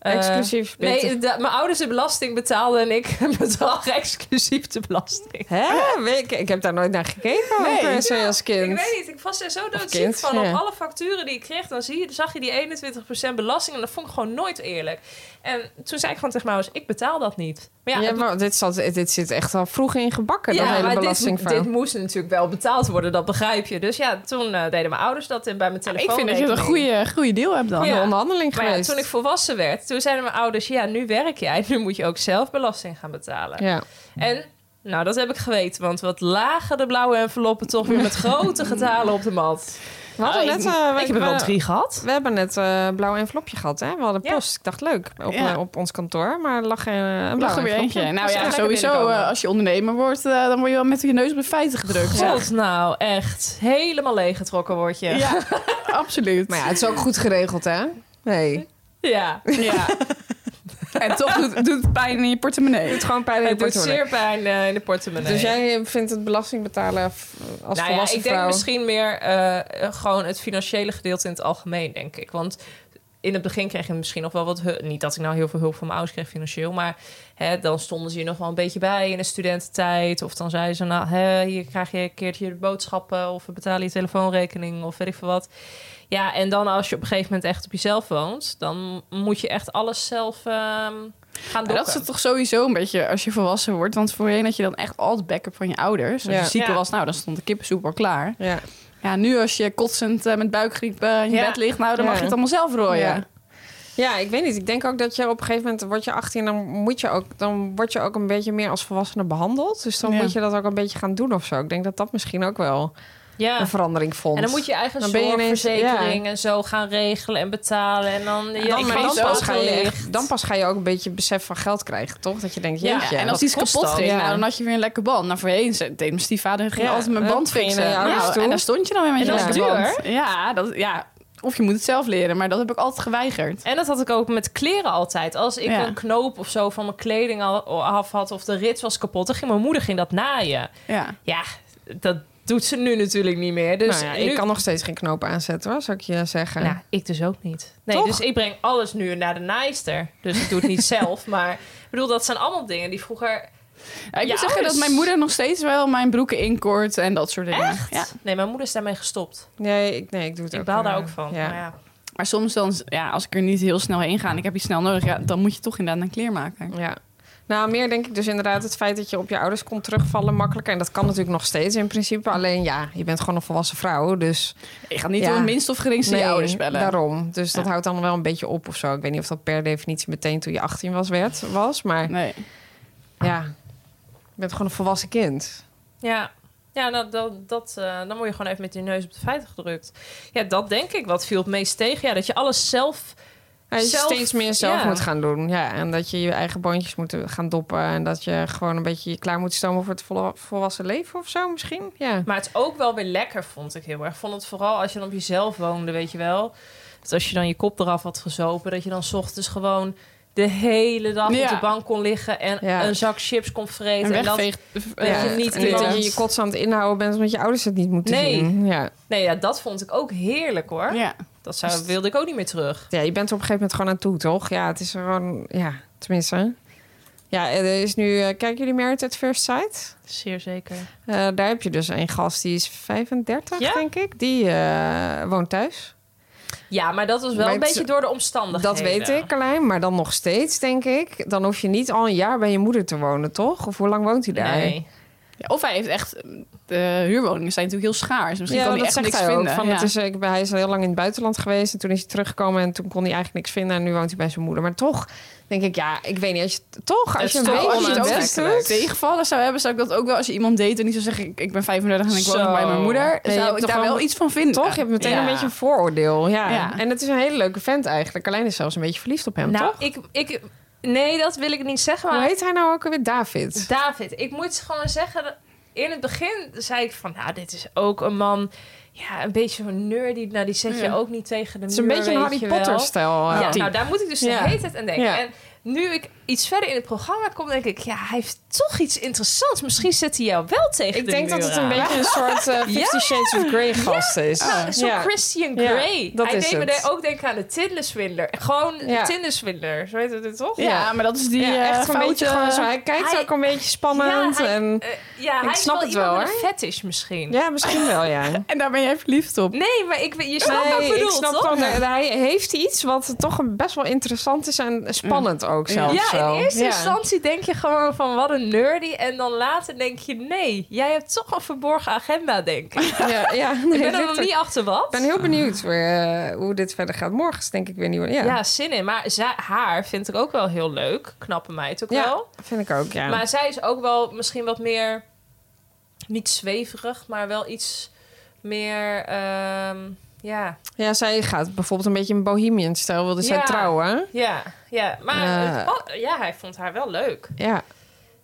S2: eh,
S4: Exclusief
S2: Nee,
S4: belasting.
S2: de- mijn ouders de belasting betaalden en ik een bedrag exclusief de belasting. Ah,
S4: Hè? Weet Ik, ik heb daar nooit naar gekeken
S2: eh,
S4: nee. per se als kind.
S2: Ik weet niet, ik was er zo doodziek
S4: kind,
S2: van.
S4: ja.
S2: Op alle facturen die ik kreeg, dan zie je, zag je die 21% belasting. En dat vond ik gewoon nooit eerlijk. En toen zei ik gewoon tegen mijn ouders, ik betaal dat niet. Maar ja,
S4: Ja,
S2: het-
S4: maar dit, zat, dit zit echt al vroeg in gebakken,
S2: ja,
S4: dat hele
S2: maar dit,
S4: belastingverhaal.
S2: dit moest natuurlijk wel betaald worden, dat begrijp je. Dus ja, toen eh, deden mijn ouders dat en bij mijn
S3: Ik
S2: telefoon.
S3: vind dat je een goede, goede deal hebt dan.
S4: Een
S2: Ja.
S4: onderhandeling
S2: Maar ja,
S4: geweest.
S2: toen ik volwassen werd, toen zeiden mijn ouders... ja, nu werk jij, nu moet je ook zelf belasting gaan betalen.
S4: Ja.
S2: En nou, dat heb ik geweten, want wat lagen de blauwe enveloppen... toch weer met grote getalen op de mat.
S4: We
S2: Ah,
S4: hadden net... eh, we- we-
S2: gehad.
S4: We hebben net eh blauw envelopje gehad, hè? We hadden
S2: Ja.
S4: post. Ik dacht, leuk, op,
S3: Ja.
S4: eh, op ons kantoor. Maar er lag eh, een blauw
S3: Lag er weer
S4: envelopje.
S3: eentje. Nou
S4: Dus
S3: ja,
S4: echt lekker
S3: sowieso,
S4: binnenkomen.
S3: eh, als je ondernemer wordt, eh, dan word je wel met je neus op de feiten gedrukt.
S2: God, nou echt. Helemaal leeggetrokken word je.
S3: Ja, Ja, absoluut.
S4: Maar ja, het is ook goed geregeld, hè? Nee.
S2: Ja. ja.
S3: En toch doet, doet het pijn in je portemonnee.
S4: doet gewoon pijn in je
S2: Het doet
S4: portemonnee.
S2: zeer pijn eh, in de portemonnee.
S4: Dus jij vindt het belasting betalen f- als
S2: nou ja,
S4: volwassen
S2: ik denk
S4: vrouw...
S2: misschien meer eh, eh, gewoon het financiële gedeelte in het algemeen, denk ik. Want in het begin kreeg je misschien nog wel wat hulp. Niet dat ik nou heel veel hulp van mijn ouders kreeg financieel, maar hè, dan stonden ze je nog wel een beetje bij in de studententijd. Of dan zeiden ze, nou, hè, hier krijg je een keertje de boodschappen of we betalen je telefoonrekening of weet ik veel wat. Ja, en dan als je op een gegeven moment echt op jezelf woont, dan moet je echt alles zelf ehm, gaan doen.
S3: Maar dat is het toch sowieso een beetje als je volwassen wordt. Want voorheen had je dan echt altijd backup van je ouders. Als
S4: Ja.
S3: je ziek
S2: Ja.
S3: was, nou, dan stond de kippensoep al klaar.
S4: Ja.
S3: Ja, nu als je kotsend eh, met buikgriep eh, in je
S2: Ja.
S3: bed ligt, nou, dan mag
S4: Ja.
S3: je het allemaal zelf rooien.
S4: Ja. Ja, ik weet niet. Ik denk ook dat je op een gegeven moment word je 18 dan moet je ook dan word je ook een beetje meer als volwassene behandeld. Dus dan
S3: Ja.
S4: moet je dat ook een beetje gaan doen of zo. Ik denk dat dat misschien ook wel
S2: ja.
S4: een verandering vond.
S2: En dan moet je eigen
S4: Dan ben je ineens-
S2: zorgverzekering en zo gaan regelen en betalen. En dan, ja,
S4: dan,
S2: ik
S4: maar
S2: weet
S4: dan,
S2: wel
S4: pas
S2: wat
S4: ga je
S2: er ligt.
S4: echt, dan pas ga je ook een beetje besef van geld krijgen, toch? Dat je denkt,
S2: Ja,
S4: jeetje.
S3: en
S4: wat-
S3: als iets
S2: kost
S3: kapot
S2: dat?
S3: ging,
S4: Ja.
S3: nou, dan had je weer een lekker band. Nou, voorheen ze- deed mijn stiefvader ging
S4: Ja,
S3: altijd mijn
S4: dan
S3: band
S4: ging je naar
S3: fixen.
S4: je ouders
S3: Nou,
S4: toe.
S3: en daar stond je dan weer met je
S4: En dat is
S3: lekker band. Ja, dat, ja, of je moet het zelf leren, maar dat heb ik altijd geweigerd.
S2: En dat had ik ook met kleren altijd. Als ik
S3: Ja.
S2: een knoop of zo van mijn kleding al af had of de rits was kapot, dan ging mijn moeder ging dat naaien.
S3: Ja.
S2: Ja, dat doet ze nu natuurlijk niet meer. Dus
S4: nou ja,
S2: nu,
S4: ik kan nog steeds geen knopen aanzetten, hoor, zou ik je zeggen.
S2: Nou, ik dus ook niet. Nee,
S4: Toch?
S2: dus ik breng alles nu naar de naaister. Dus ik doe het niet zelf, maar ik bedoel, dat zijn allemaal dingen die vroeger...
S3: Ja,
S2: Ja,
S3: ik moet zeggen
S4: dus-
S2: ouders.
S3: dat mijn moeder nog steeds wel mijn broeken inkort en dat soort dingen. Ja.
S2: Nee, mijn moeder is daarmee gestopt.
S4: Nee, ik, nee, ik doe het ook
S2: Ik baal daar
S4: eh,
S2: ook van.
S4: Ja.
S2: Maar ja.
S3: Maar soms dan, ja, als ik er niet heel snel heen ga en ik heb iets snel nodig, ja, dan moet je toch inderdaad een kleermaker.
S4: Ja. Nou, meer denk ik dus inderdaad het feit dat je op je ouders komt terugvallen makkelijker. En dat kan natuurlijk nog steeds in principe. Alleen ja, je bent gewoon een volwassen vrouw. Dus
S3: Je gaat niet
S4: Ja.
S3: door het minst of geringste je ouders bellen.
S4: daarom. Dus dat
S3: Ja.
S4: houdt dan wel een beetje op of zo. Ik weet niet of dat per definitie meteen toen je 18 was, werd, was. Maar
S3: Nee.
S4: ja, je bent gewoon een volwassen kind.
S2: Ja, ja nou, dat, dat, eh, dan word je gewoon even met je neus op de feiten gedrukt. Ja, dat denk ik. Wat viel het meest tegen? Ja, dat je alles zelf...
S4: Ja, dat je
S2: Zelf-
S4: steeds meer zelf
S2: ja.
S4: moet gaan doen. Ja, en dat je je eigen boontjes moet gaan doppen. En dat je gewoon een beetje je klaar moet stomen voor het volle- volwassen leven of zo misschien. Ja.
S2: Maar het is ook wel weer lekker, vond ik heel erg. Ik vond het vooral als je dan op jezelf woonde, weet je wel. Dat als je dan je kop eraf had gezopen, dat je dan 's ochtends gewoon de hele dag op
S3: Ja.
S2: de bank kon liggen en
S4: Ja.
S2: een zak chips kon vreten.
S3: En
S2: En dat-
S3: wegveeg.
S2: dat
S4: ja.
S2: je niet
S4: en dat je
S2: iemand-
S4: je kots aan het inhouden bent omdat je ouders het niet moeten
S2: Nee.
S4: zien. Ja.
S2: nee, ja, dat vond ik ook heerlijk hoor.
S3: Ja.
S2: Dat zou, wilde ik ook niet meer terug.
S4: Ja, je bent er op een gegeven moment gewoon aan toe, toch? Ja, het is gewoon... Ja, tenminste. Ja, er is nu... eh, kijken jullie Married at First Sight?
S2: Zeer zeker.
S4: Eh, daar heb je dus een gast, die is 35,
S2: Ja?
S4: denk ik. Die eh, woont thuis.
S2: Ja, maar dat was wel
S4: Maar
S2: een
S4: het-
S2: beetje door de omstandigheden.
S4: Dat weet ik, alleen. Maar dan nog steeds, denk ik. Dan hoef je niet al een jaar bij je moeder te wonen, toch? Of hoe lang woont hij daar?
S2: Nee.
S3: Ja, Of hij heeft echt... eh, De huurwoningen zijn natuurlijk heel schaars. Misschien
S4: Ja,
S3: kan hij
S4: dat zegt
S3: echt niks
S4: hij ook.
S3: vinden.
S4: Van,
S3: ja.
S4: het is, eh, ik ben, hij is al heel lang in het buitenland geweest. En toen is hij teruggekomen en toen kon hij eigenlijk niks vinden. En nu woont hij bij zijn moeder. Maar toch denk ik, ja, ik weet niet. Als je, toch, als
S2: is
S4: je een
S2: toch
S4: beetje
S3: als je
S4: je
S3: het
S4: best
S3: ook
S4: doet.
S3: tegenvallen zou hebben, zou ik dat ook wel als je iemand date en niet zou zeggen: Ik, ik ben 35 en ik woon
S2: Zo.
S3: nog bij mijn moeder,
S4: je hebt
S3: zou ik
S4: toch
S3: daar
S4: wel-
S3: wel iets van vinden.
S4: Toch? Je hebt meteen
S3: Ja.
S4: een beetje een vooroordeel. Ja.
S3: Ja.
S4: En het is een hele leuke vent eigenlijk. Alleen is zelfs een beetje verliefd op hem,
S2: Nou,
S4: toch?
S2: ik, ik, nee, dat wil ik niet zeggen.
S4: Hoe
S2: Maar
S4: heet hij nou ook alweer? David.
S2: David, ik moet gewoon zeggen... dat- In het begin zei ik van, nou, dit is ook een man... Ja, een beetje zo'n nerdy. Nou, die zet je ook niet tegen de
S4: Het is
S2: muur,
S4: een beetje een
S2: weet
S4: Harry
S2: je wel.
S4: Potter-stijl. eh,
S2: Ja,
S4: type.
S2: nou, daar moet ik dus
S4: Ja.
S2: de hele tijd aan denken.
S4: Ja.
S2: En nu ik iets verder in het programma kom, denk ik... Ja, hij heeft toch iets interessants. Misschien zet hij jou wel tegen
S4: ik
S2: de
S4: denk dat
S2: muur
S4: het een
S2: aan.
S4: beetje een soort eh Fifty Shades of Grey gast is.
S2: Nou, zo'n
S4: Ja.
S2: Christian
S4: Ja,
S2: Grey.
S4: dat
S2: hij
S4: is
S2: deed me
S4: het.
S2: daar ook denken aan de Tinderswindler. Gewoon
S4: Ja.
S2: de Tinderswindler. Zo heet het dit, toch?
S3: Ja, maar dat is die
S4: Ja,
S3: eh,
S4: echt een
S3: foute-
S4: beetje gewoon zo. Hij kijkt
S2: Hij-
S4: ook een beetje spannend.
S2: Ja, hij,
S4: en,
S2: eh, ja, hij is
S4: snap
S2: wel
S4: het
S2: iemand
S4: wel,
S2: met
S4: hoor.
S2: een fetish misschien.
S4: ja, misschien wel, ja.
S3: En daar ben jij verliefd op.
S2: Nee, maar ik, je snapt wat ik
S4: Nee,
S2: bedoel,
S4: ik snap
S2: toch?
S4: wel. Hij hij heeft iets wat toch een- best wel interessant is en spannend ook zelfs.
S2: Mm. Ja,
S4: wel.
S2: in eerste
S4: Ja.
S2: instantie denk je gewoon van wat een nerdy. En dan later denk je, nee, jij hebt toch een verborgen agenda, denk ik.
S4: Ja, ja, nee,
S2: Ik ben er
S4: dit-
S2: nog niet achter wat.
S4: Ik ben heel benieuwd weer, eh, hoe dit verder gaat. Morgen is denk ik weer nieuw. Ja,
S2: ja. zin in. Maar zij- haar vind ik ook wel heel leuk. Knappe meid ook
S4: Ja,
S2: wel.
S4: vind ik ook, ja.
S2: Maar zij is ook wel misschien wat meer... Niet zweverig, maar wel iets meer... ehm, ja,
S4: Ja, zij gaat bijvoorbeeld een beetje een bohemian-stijl. Wilde zij
S2: Ja.
S4: trouwen?
S2: ja, ja. Maar
S4: Ja.
S2: het was- ja, hij vond haar wel leuk.
S4: Ja,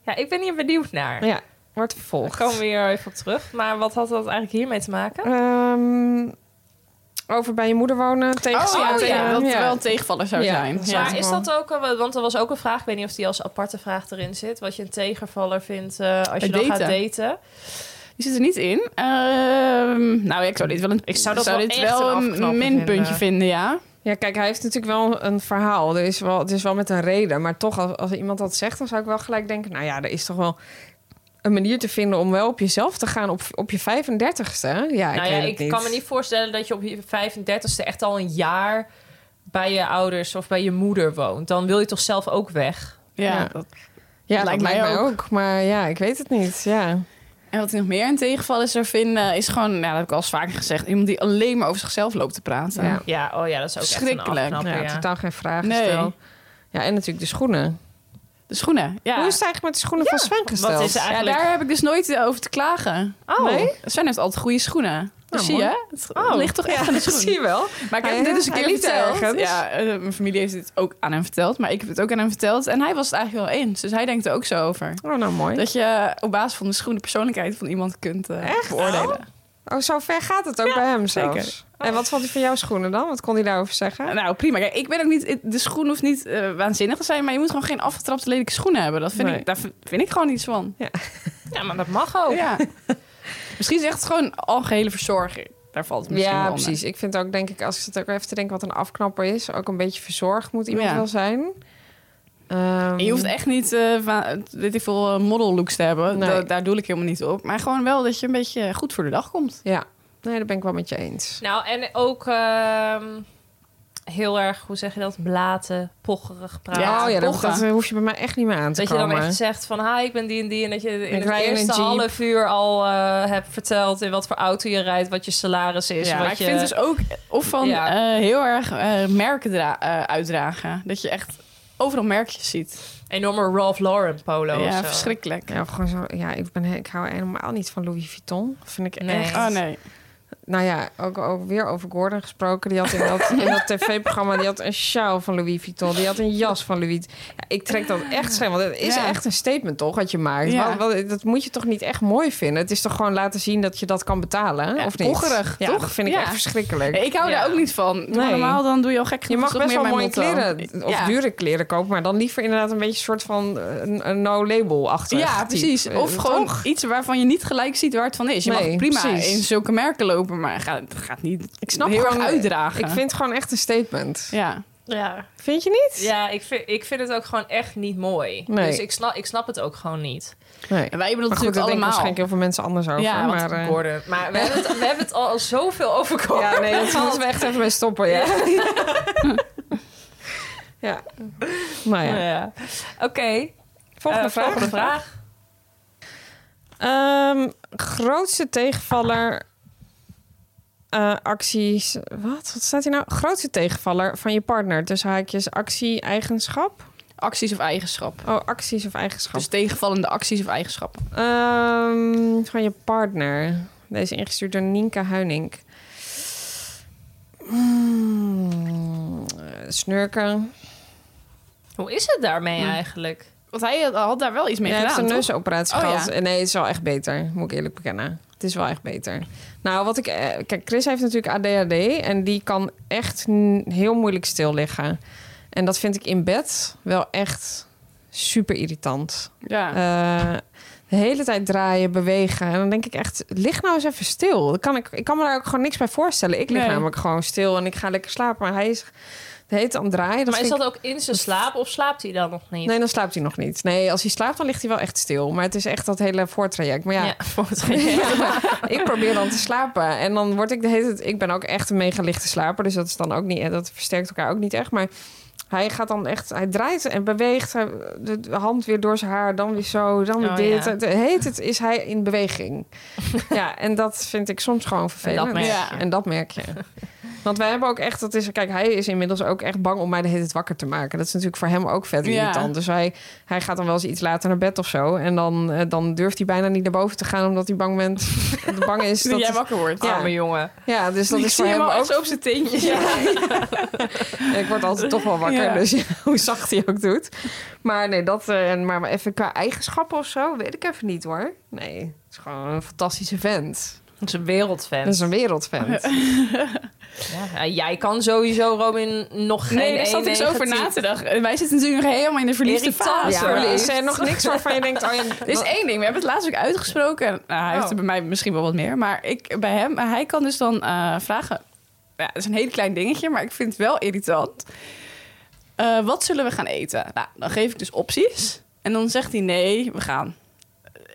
S2: Ja, ik ben hier benieuwd naar.
S4: ja. Wordt
S2: Daar
S4: vervolgd.
S2: komen we hier even op terug. Maar wat had dat eigenlijk hiermee te maken?
S4: Ehm, over bij je moeder wonen. Tegenslaat.
S2: Oh, ja,
S4: ja.
S3: Oh, dat
S4: ja.
S3: wel een tegenvaller zou
S4: Ja,
S3: zijn.
S4: dat
S3: Ja.
S2: Maar is dat ook, een- want er was ook een vraag, ik weet niet of die als aparte vraag erin zit, wat je een tegenvaller vindt eh, als je
S3: Het
S2: dan gaat
S3: daten.
S2: daten.
S3: Die zit er niet in. Ehm, nou, ja, ik zou dit wel een, ik
S2: zou dat wel
S3: dit
S2: echt
S3: wel
S2: een
S3: een,
S2: afknapper
S3: minpuntje vinden.
S2: vinden.
S3: ja.
S4: Ja, kijk, hij heeft natuurlijk wel een verhaal. Er is wel, het is wel met een reden. Maar toch, als, als iemand dat zegt, dan zou ik wel gelijk denken... nou ja, er is toch wel een manier te vinden om wel op jezelf te gaan op, op je 35ste. Ja, ik
S2: nou
S4: weet
S2: ja,
S4: het
S2: ik kan me niet voorstellen dat je op je 35ste echt al een jaar bij je ouders of bij je moeder woont. Dan wil je toch zelf ook weg?
S3: Ja,
S4: Ja.
S3: dat-
S4: Ja,
S3: Lijkt
S4: dat
S3: mij
S4: lijkt mij ook. Maar ja, ik weet het niet. Ja.
S3: En wat ik nog meer een tegenvaller zou vinden, is gewoon, nou, dat heb ik al eens vaker gezegd, iemand die alleen maar over zichzelf loopt te praten.
S4: Ja.
S2: Ja, oh ja, dat is ook echt een
S3: Schrikkelijk.
S2: afknapper,
S4: Ja,
S2: ja.
S4: totaal geen vragen
S3: Nee.
S4: stel. Ja, en natuurlijk de schoenen.
S3: De schoenen, ja.
S4: Hoe is het eigenlijk met de schoenen van Sven gesteld?
S2: Wat is er
S3: ja,
S2: eigenlijk...
S3: daar heb ik dus nooit eh, over te klagen.
S2: Oh.
S4: Nee?
S3: Sven heeft altijd goede schoenen. Dat zie
S4: Nou, mooi.
S3: je, het ligt toch echt aan
S4: dat
S3: de schoen.
S4: zie je wel.
S3: Maar ik
S4: Hij-
S3: heb hem dit dus een
S4: hij
S3: keer
S4: liet het
S3: verteld.
S4: ergens.
S3: Ja, eh, mijn familie heeft dit ook aan hem verteld. Maar ik heb het ook aan hem verteld. En hij was het eigenlijk wel eens. Dus hij denkt er ook zo over.
S4: Oh, nou mooi.
S3: Dat je eh, op basis van de schoen de persoonlijkheid van iemand kunt eh, beoordelen.
S4: Oh, zo ver gaat het ook bij hem zelfs.
S3: zeker.
S4: En wat vond hij van jouw schoenen dan? Wat kon hij daarover zeggen?
S3: Nou, prima. Kijk, ik ben ook niet... De schoen hoeft niet eh, waanzinnig te zijn. Maar je moet gewoon geen afgetrapte lelijke schoenen hebben. Dat vind
S4: Nee.
S3: ik, daar v- vind ik gewoon iets van.
S2: Ja, maar dat mag ook.
S3: Ja. Misschien is het echt gewoon algehele verzorging. Daar valt het misschien
S4: Ja,
S3: wel onder.
S4: precies. Ik vind ook, denk ik, als ik zit ook even te denken wat een afknapper is. Ook een beetje verzorgd moet iemand
S3: Ja.
S4: wel zijn. Ehm,
S3: En je hoeft
S2: Mm.
S3: echt niet, eh, va- weet ik veel, eh, model looks te hebben.
S4: Nee.
S3: Da- daar doe ik helemaal niet op. Maar gewoon wel dat je een beetje goed voor de dag komt.
S4: Ja, nee, dat ben ik wel met je eens.
S2: Nou, en ook ehm, heel erg, hoe zeg je dat, blaten, pocherig praten.
S3: Ja,
S4: oh ja, dat,
S3: pochen.
S4: dat hoef je bij mij echt niet meer aan te
S2: Dat je
S4: komen.
S2: dan echt zegt van, hi, ik ben die en die. En dat je in
S4: Ik
S2: het
S4: rij in een
S2: eerste
S4: Jeep.
S2: half uur al eh, hebt verteld in wat voor auto je rijdt, wat je salaris is.
S3: Ja,
S2: wat
S3: maar ik
S2: je...
S3: vind dus ook of van
S2: Ja.
S3: eh, heel erg eh, merken dra- eh, uitdragen. Dat je echt overal merkjes ziet.
S2: enorme Ralph Lauren polo of
S3: ja,
S2: zo.
S3: verschrikkelijk.
S4: Ja, of gewoon zo, ja ik, ben, he- ik hou helemaal niet van Louis Vuitton. Vind ik
S2: Nee.
S4: echt.
S3: Oh nee.
S4: Nou ja, ook, ook weer over Gordon gesproken. Die had in dat, in dat tv-programma die had een sjaal van Louis Vuitton. Die had een jas van Louis. Ja, ik trek dat echt scherm. Want het is
S3: Ja.
S4: echt een statement toch wat je maakt.
S3: Ja.
S4: Wel- wel, dat moet je toch niet echt mooi vinden. Het is toch gewoon laten zien dat je dat kan betalen,
S3: Ja,
S4: of niet?
S3: pocherig,
S4: ja,
S3: toch?
S4: Dat vind ik
S3: Ja.
S4: echt verschrikkelijk.
S3: Ik hou
S2: Ja.
S3: daar ook niet van. Doe
S4: Nee.
S3: Normaal dan doe je al gek
S4: Je
S3: genoeg.
S4: mag
S3: Dat is
S4: best
S3: ook
S4: wel
S3: meer
S4: mooie
S3: mijn motto.
S4: kleren of
S3: Ja.
S4: dure kleren kopen, maar dan liever inderdaad een beetje een soort van eh, een, een no-label-achtig.
S3: Ja,
S4: type.
S3: precies.
S4: Eh,
S3: Of gewoon
S4: toch?
S3: iets waarvan je niet gelijk ziet waar het van is. Je
S4: Nee,
S3: mag prima
S4: precies.
S3: in zulke merken lopen, maar ga, het gaat niet
S4: Ik snap
S3: heel erg
S4: gewoon-
S3: uitdragen.
S4: Ik vind het gewoon echt een statement.
S3: ja.
S2: Ja,
S4: Vind je niet?
S2: ja ik, vind, ik vind het ook gewoon echt niet mooi.
S4: Nee.
S2: Dus ik snap, ik snap het ook gewoon niet.
S4: Nee.
S3: En wij hebben dat
S4: Maar goed,
S3: natuurlijk
S4: daar denken
S3: allemaal.
S4: waarschijnlijk heel veel mensen anders over.
S3: Ja, want
S4: maar, eh,
S2: Gordon. Maar we hebben, het, we hebben het al, al zoveel over Gordon.
S4: Ja, nee, dat moeten we echt even mee stoppen, ja. ja. Nou ja,
S2: Ja. Oké,
S4: volgende
S2: eh,
S4: vraag.
S2: volgende vraag.
S4: Ehm, grootste tegenvaller... eh, acties... Wat? Wat staat hier nou? Grootste tegenvaller van je partner. Tussen haakjes actie, eigenschap.
S3: Acties of eigenschappen.
S4: Oh, acties of eigenschap.
S3: Dus tegenvallende acties of eigenschappen.
S4: Ehm, van je partner. Deze ingestuurd door Nienke Huining. Mm, eh, snurken.
S2: Hoe is het daarmee
S4: Hm.
S2: eigenlijk?
S3: Want hij had, had daar wel iets mee
S4: Hij heeft
S3: gedaan,
S4: een
S3: toch?
S4: neusoperatie
S3: Oh,
S4: gehad.
S3: ja.
S4: En nee, het is wel echt beter. Moet ik eerlijk bekennen. Het is wel echt beter. Nou, wat ik... eh, Kijk, Chris heeft natuurlijk ADHD. En die kan echt n- heel moeilijk stil liggen. En dat vind ik in bed wel echt super irritant.
S3: Ja.
S4: Eh, de hele tijd draaien, bewegen. En dan denk ik echt, lig nou eens even stil. Dan kan ik, ik kan me daar ook gewoon niks bij voorstellen. Ik lig
S3: Nee.
S4: namelijk gewoon stil en ik ga lekker slapen. Maar hij is de hele tijd aan het draaien. Dat
S2: maar is
S4: vind
S2: dat
S4: ik-
S2: ook in zijn slaap of slaapt hij dan nog niet?
S4: Nee, dan slaapt hij nog niet. Nee, als hij slaapt, dan ligt hij wel echt stil. Maar het is echt dat hele voortraject. Maar ja,
S2: Ja, voor het geen.
S4: ja, ik probeer dan te slapen. En dan word ik de hele tijd... Ik ben ook echt een mega lichte slaper. Dus dat is dan ook niet... Dat versterkt elkaar ook niet echt. Maar hij gaat dan echt... Hij draait en beweegt. Hij- de de hand weer door zijn haar. Dan weer zo. Dan weer
S2: Oh,
S4: dit.
S2: ja.
S4: Het heet het is hij in beweging. ja, en dat vind ik soms gewoon vervelend.
S2: merk je.
S4: Ja, en dat merk je. Want wij hebben ook echt, dat is, kijk, hij is inmiddels ook echt bang om mij de hele tijd wakker te maken. Dat is natuurlijk voor hem ook vet
S3: Ja.
S4: irritant. Dus hij, hij gaat dan wel eens iets later naar bed of zo. En dan, eh, dan durft hij bijna niet naar boven te gaan, omdat hij bang, bent, bang is.
S3: dat
S4: Dat
S3: jij wakker wordt.
S4: Ja.
S2: Arme jongen.
S4: ja, dus dat
S3: ik
S4: is voor
S3: zie
S4: hem
S3: hem al
S4: ook.
S3: echt zo op zijn teentjes.
S4: Ik word altijd toch wel wakker,
S3: Ja.
S4: dus ja, hoe zacht hij ook doet. Maar nee, dat, eh, en maar even qua eigenschappen of zo, weet ik even niet hoor. Nee, het is gewoon een fantastische vent.
S2: Dat is een wereldfan.
S4: Dat is een wereldvent.
S3: Oh,
S2: Ja, jij kan sowieso, Robin, nog geen
S3: Nee, daar zat ik zo over na te dachten. Wij zitten natuurlijk nog helemaal in de verliefde fase.
S2: Irritatie. Ja.
S4: Er
S2: Verliefd.
S4: is er nog niks waarvan je denkt, oh ja,
S3: Er is één ding, we hebben het laatst ook uitgesproken. Nou, hij heeft
S2: Oh.
S3: er bij mij misschien wel wat meer. Maar ik, bij hem, hij kan dus dan eh, vragen... Ja, dat is een heel klein dingetje, maar ik vind het wel irritant. Eh, wat zullen we gaan eten? Nou, dan geef ik dus opties. En dan zegt hij nee, we gaan.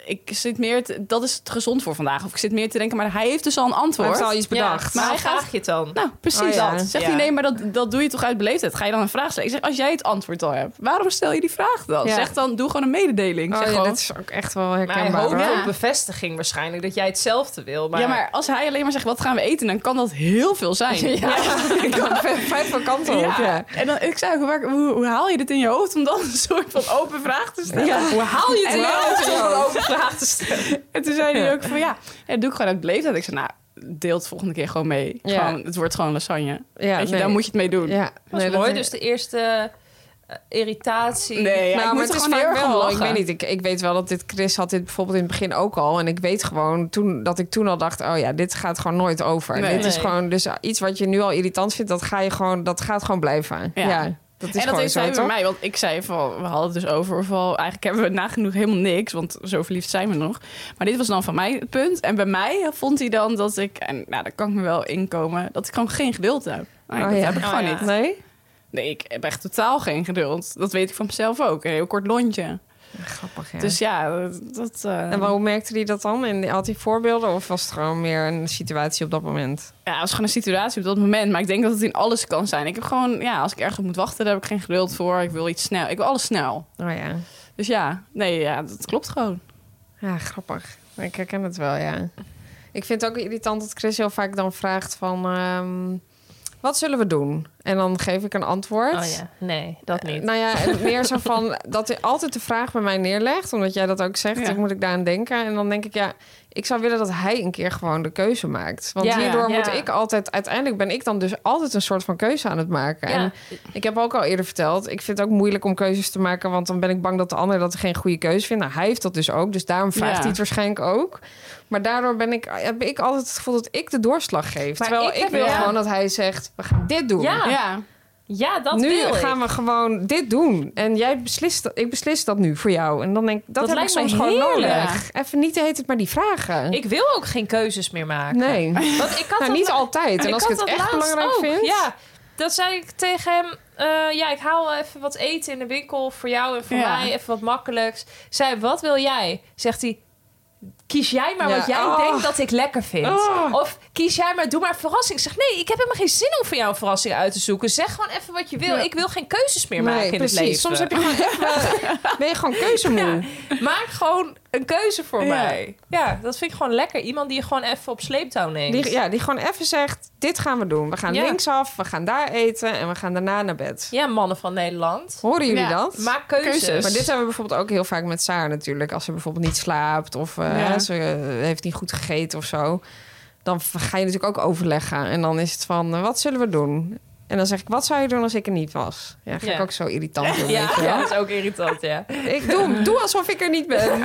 S3: Ik zit meer te- dat is het gezond voor vandaag. Of ik zit meer te denken, maar hij heeft dus al een antwoord.
S4: Hij heeft al iets bedacht.
S2: maar
S3: Maar
S2: hij
S3: hij gaat-
S2: vraag je het dan.
S3: Nou, precies
S4: Oh ja.
S3: dat. Zegt
S2: Ja.
S3: hij nee, maar dat, dat doe je toch uit beleefdheid? Ga je dan een vraag stellen? Ik zeg, als jij het antwoord al hebt, waarom stel je die vraag dan?
S4: Ja.
S3: Zeg dan, doe gewoon een mededeling.
S4: oh,
S3: zeg
S4: ja,
S3: gewoon,
S4: dat is ook echt wel
S2: maar hij
S4: herkenbaar.
S2: hoopt
S4: hoor.
S2: op bevestiging waarschijnlijk, dat jij hetzelfde wil. Maar...
S3: Ja, maar als hij alleen maar zegt, wat gaan we eten? Dan kan dat heel veel zijn.
S4: Ik kan vijf van kanten op, ja.
S3: En dan, ik zei, ook, waar, hoe, hoe haal je dit in je hoofd om dan een soort van open vraag te stellen?
S4: Ja.
S3: Hoe haal je het
S4: En
S3: in je
S4: dan-
S3: hoofd?
S2: om een open vraag te stellen.
S3: En toen zei hij ook van, ja, ja, doe ik gewoon uit beleefdheid. Ik zei, nou, deel het volgende keer gewoon mee.
S4: Ja.
S3: Gewoon, het wordt gewoon lasagne.
S4: Ja,
S3: Weet je,
S4: nee.
S3: daar moet je het mee doen.
S4: ja.
S2: Dat is mooi, dus de eerste eh, irritatie.
S3: Nee, ja,
S4: Nou,
S3: ik
S4: maar
S3: moet
S4: het
S3: er
S4: is
S3: gewoon heel
S4: vaak
S3: erg om
S4: wel. Ik
S3: lachen.
S4: weet niet. Ik, ik weet wel dat dit Chris had dit bijvoorbeeld in het begin ook al. En ik weet gewoon toen, dat ik toen al dacht: oh ja, dit gaat gewoon nooit over.
S3: Nee.
S4: Dit is
S2: Nee.
S4: gewoon dus iets wat je nu al irritant vindt. Dat, ga je gewoon, dat gaat gewoon blijven. Ja.
S3: Ja.
S4: dat is
S3: en dat
S4: gewoon
S3: heeft
S4: zo,
S3: hij bij
S4: toch?
S3: mij, want ik zei van, we hadden het dus over, van, eigenlijk hebben we nagenoeg helemaal niks, want zo verliefd zijn we nog. Maar dit was dan van mij het punt. En bij mij vond hij dan dat ik, en nou, daar kan ik me wel inkomen, dat ik gewoon geen geduld heb. Nou, dat
S4: ja.
S3: heb ik
S2: Oh,
S3: gewoon
S2: ja.
S3: niet.
S4: Nee?
S3: Nee, ik heb echt totaal geen geduld. Dat weet ik van mezelf ook. Een heel kort lontje.
S4: Grappig, ja.
S3: Dus ja, dat... dat, eh,
S4: en maar hoe merkte hij dat dan? En had hij voorbeelden of was het gewoon meer een situatie op dat moment?
S3: Ja, het was gewoon een situatie op dat moment. Maar ik denk dat het in alles kan zijn. Ik heb gewoon, ja, als ik ergens op moet wachten, daar heb ik geen geduld voor. Ik wil iets snel. Ik wil alles snel.
S4: Oh ja.
S3: Dus ja, nee, ja, dat klopt gewoon.
S4: Ja, grappig. Ik herken het wel, ja. Ik vind het ook irritant dat Chris heel vaak dan vraagt van... ehm, wat zullen we doen? En dan geef ik een antwoord.
S2: Oh ja, nee, dat niet.
S4: Nou ja, en meer zo van dat hij altijd de vraag bij mij neerlegt, omdat jij dat ook zegt,
S3: Ja.
S4: dan moet ik daaraan denken. En dan denk ik, ja, ik zou willen dat hij een keer gewoon de keuze maakt. Want
S3: Ja,
S4: hierdoor
S2: ja.
S4: moet ik altijd, uiteindelijk ben ik dan dus altijd een soort van keuze aan het maken.
S2: Ja.
S4: En ik heb ook al eerder verteld, ik vind het ook moeilijk om keuzes te maken, want dan ben ik bang dat de ander dat geen goede keuze vindt. Nou, hij heeft dat dus ook, dus daarom vraagt
S3: Ja.
S4: hij het waarschijnlijk ook. Maar daardoor ben ik, heb ik altijd het gevoel dat ik de doorslag geef.
S2: Maar
S4: Terwijl
S2: ik
S4: ik,
S2: heb-
S4: wil
S2: ja.
S4: gewoon dat hij zegt, we gaan dit doen
S2: Ja.
S3: ja.
S2: Ja, dat
S4: nu
S2: wil ik.
S4: gaan we gewoon dit doen. En jij beslist dat. Ik beslis dat nu voor jou. En dan denk ik, dat,
S2: Dat
S4: heb ik
S2: lijkt me
S4: soms gewoon
S2: heerlijk.
S4: nodig. Even niet de heet het maar die vragen.
S2: Ik wil ook geen keuzes meer maken.
S4: nee.
S2: Want ik had
S4: Nou,
S2: dat
S4: niet
S2: la-
S4: altijd. En als
S2: had
S4: ik het
S2: dat
S4: echt
S2: laatst
S4: belangrijk
S2: ook.
S4: vind.
S2: Ja, dat zei ik tegen hem. eh, ja, ik haal wel even wat eten in de winkel voor jou en voor
S3: Ja.
S2: mij. Even wat makkelijks. Zei, wat wil jij? Zegt hij, kies jij maar
S4: Ja.
S2: wat jij
S4: Oh.
S2: denkt dat ik lekker vind.
S4: Oh.
S2: Of kies jij maar, doe maar een verrassing. Ik zeg, nee, ik heb helemaal geen zin om voor jou een verrassing uit te zoeken. Zeg gewoon even wat je wil. Ik wil geen keuzes meer
S4: Nee,
S2: maken in
S4: precies.
S2: het leven.
S4: Soms heb je gewoon echt wel- ben je gewoon keuzemoe.
S2: Maak gewoon een keuze voor
S3: Ja.
S2: mij. Ja, dat vind ik gewoon lekker. Iemand die je gewoon even op sleeptouw neemt.
S4: Die, ja, die gewoon even zegt, dit gaan we doen. We gaan
S2: Ja.
S4: linksaf, we gaan daar eten en we gaan daarna naar bed.
S2: Ja, mannen van Nederland.
S4: Horen jullie
S3: Ja,
S4: dat?
S2: Maak keuzes.
S3: Keuzes.
S4: Dus, eh, Maar dit hebben we bijvoorbeeld ook heel vaak met Saar natuurlijk. Als ze bijvoorbeeld niet slaapt of eh,
S3: Ja.
S4: ze eh, heeft niet goed gegeten of zo. Dan v- ga je natuurlijk ook overleggen. En dan is het van, eh, wat zullen we doen? En dan zeg ik, wat zou je doen als ik er niet was? Ja, ga
S2: Ja.
S4: ik ook zo irritant doen. weet
S2: Ja,
S4: je wel.
S2: ja, dat is ook irritant, ja.
S4: Ik doe, doe alsof ik er niet ben.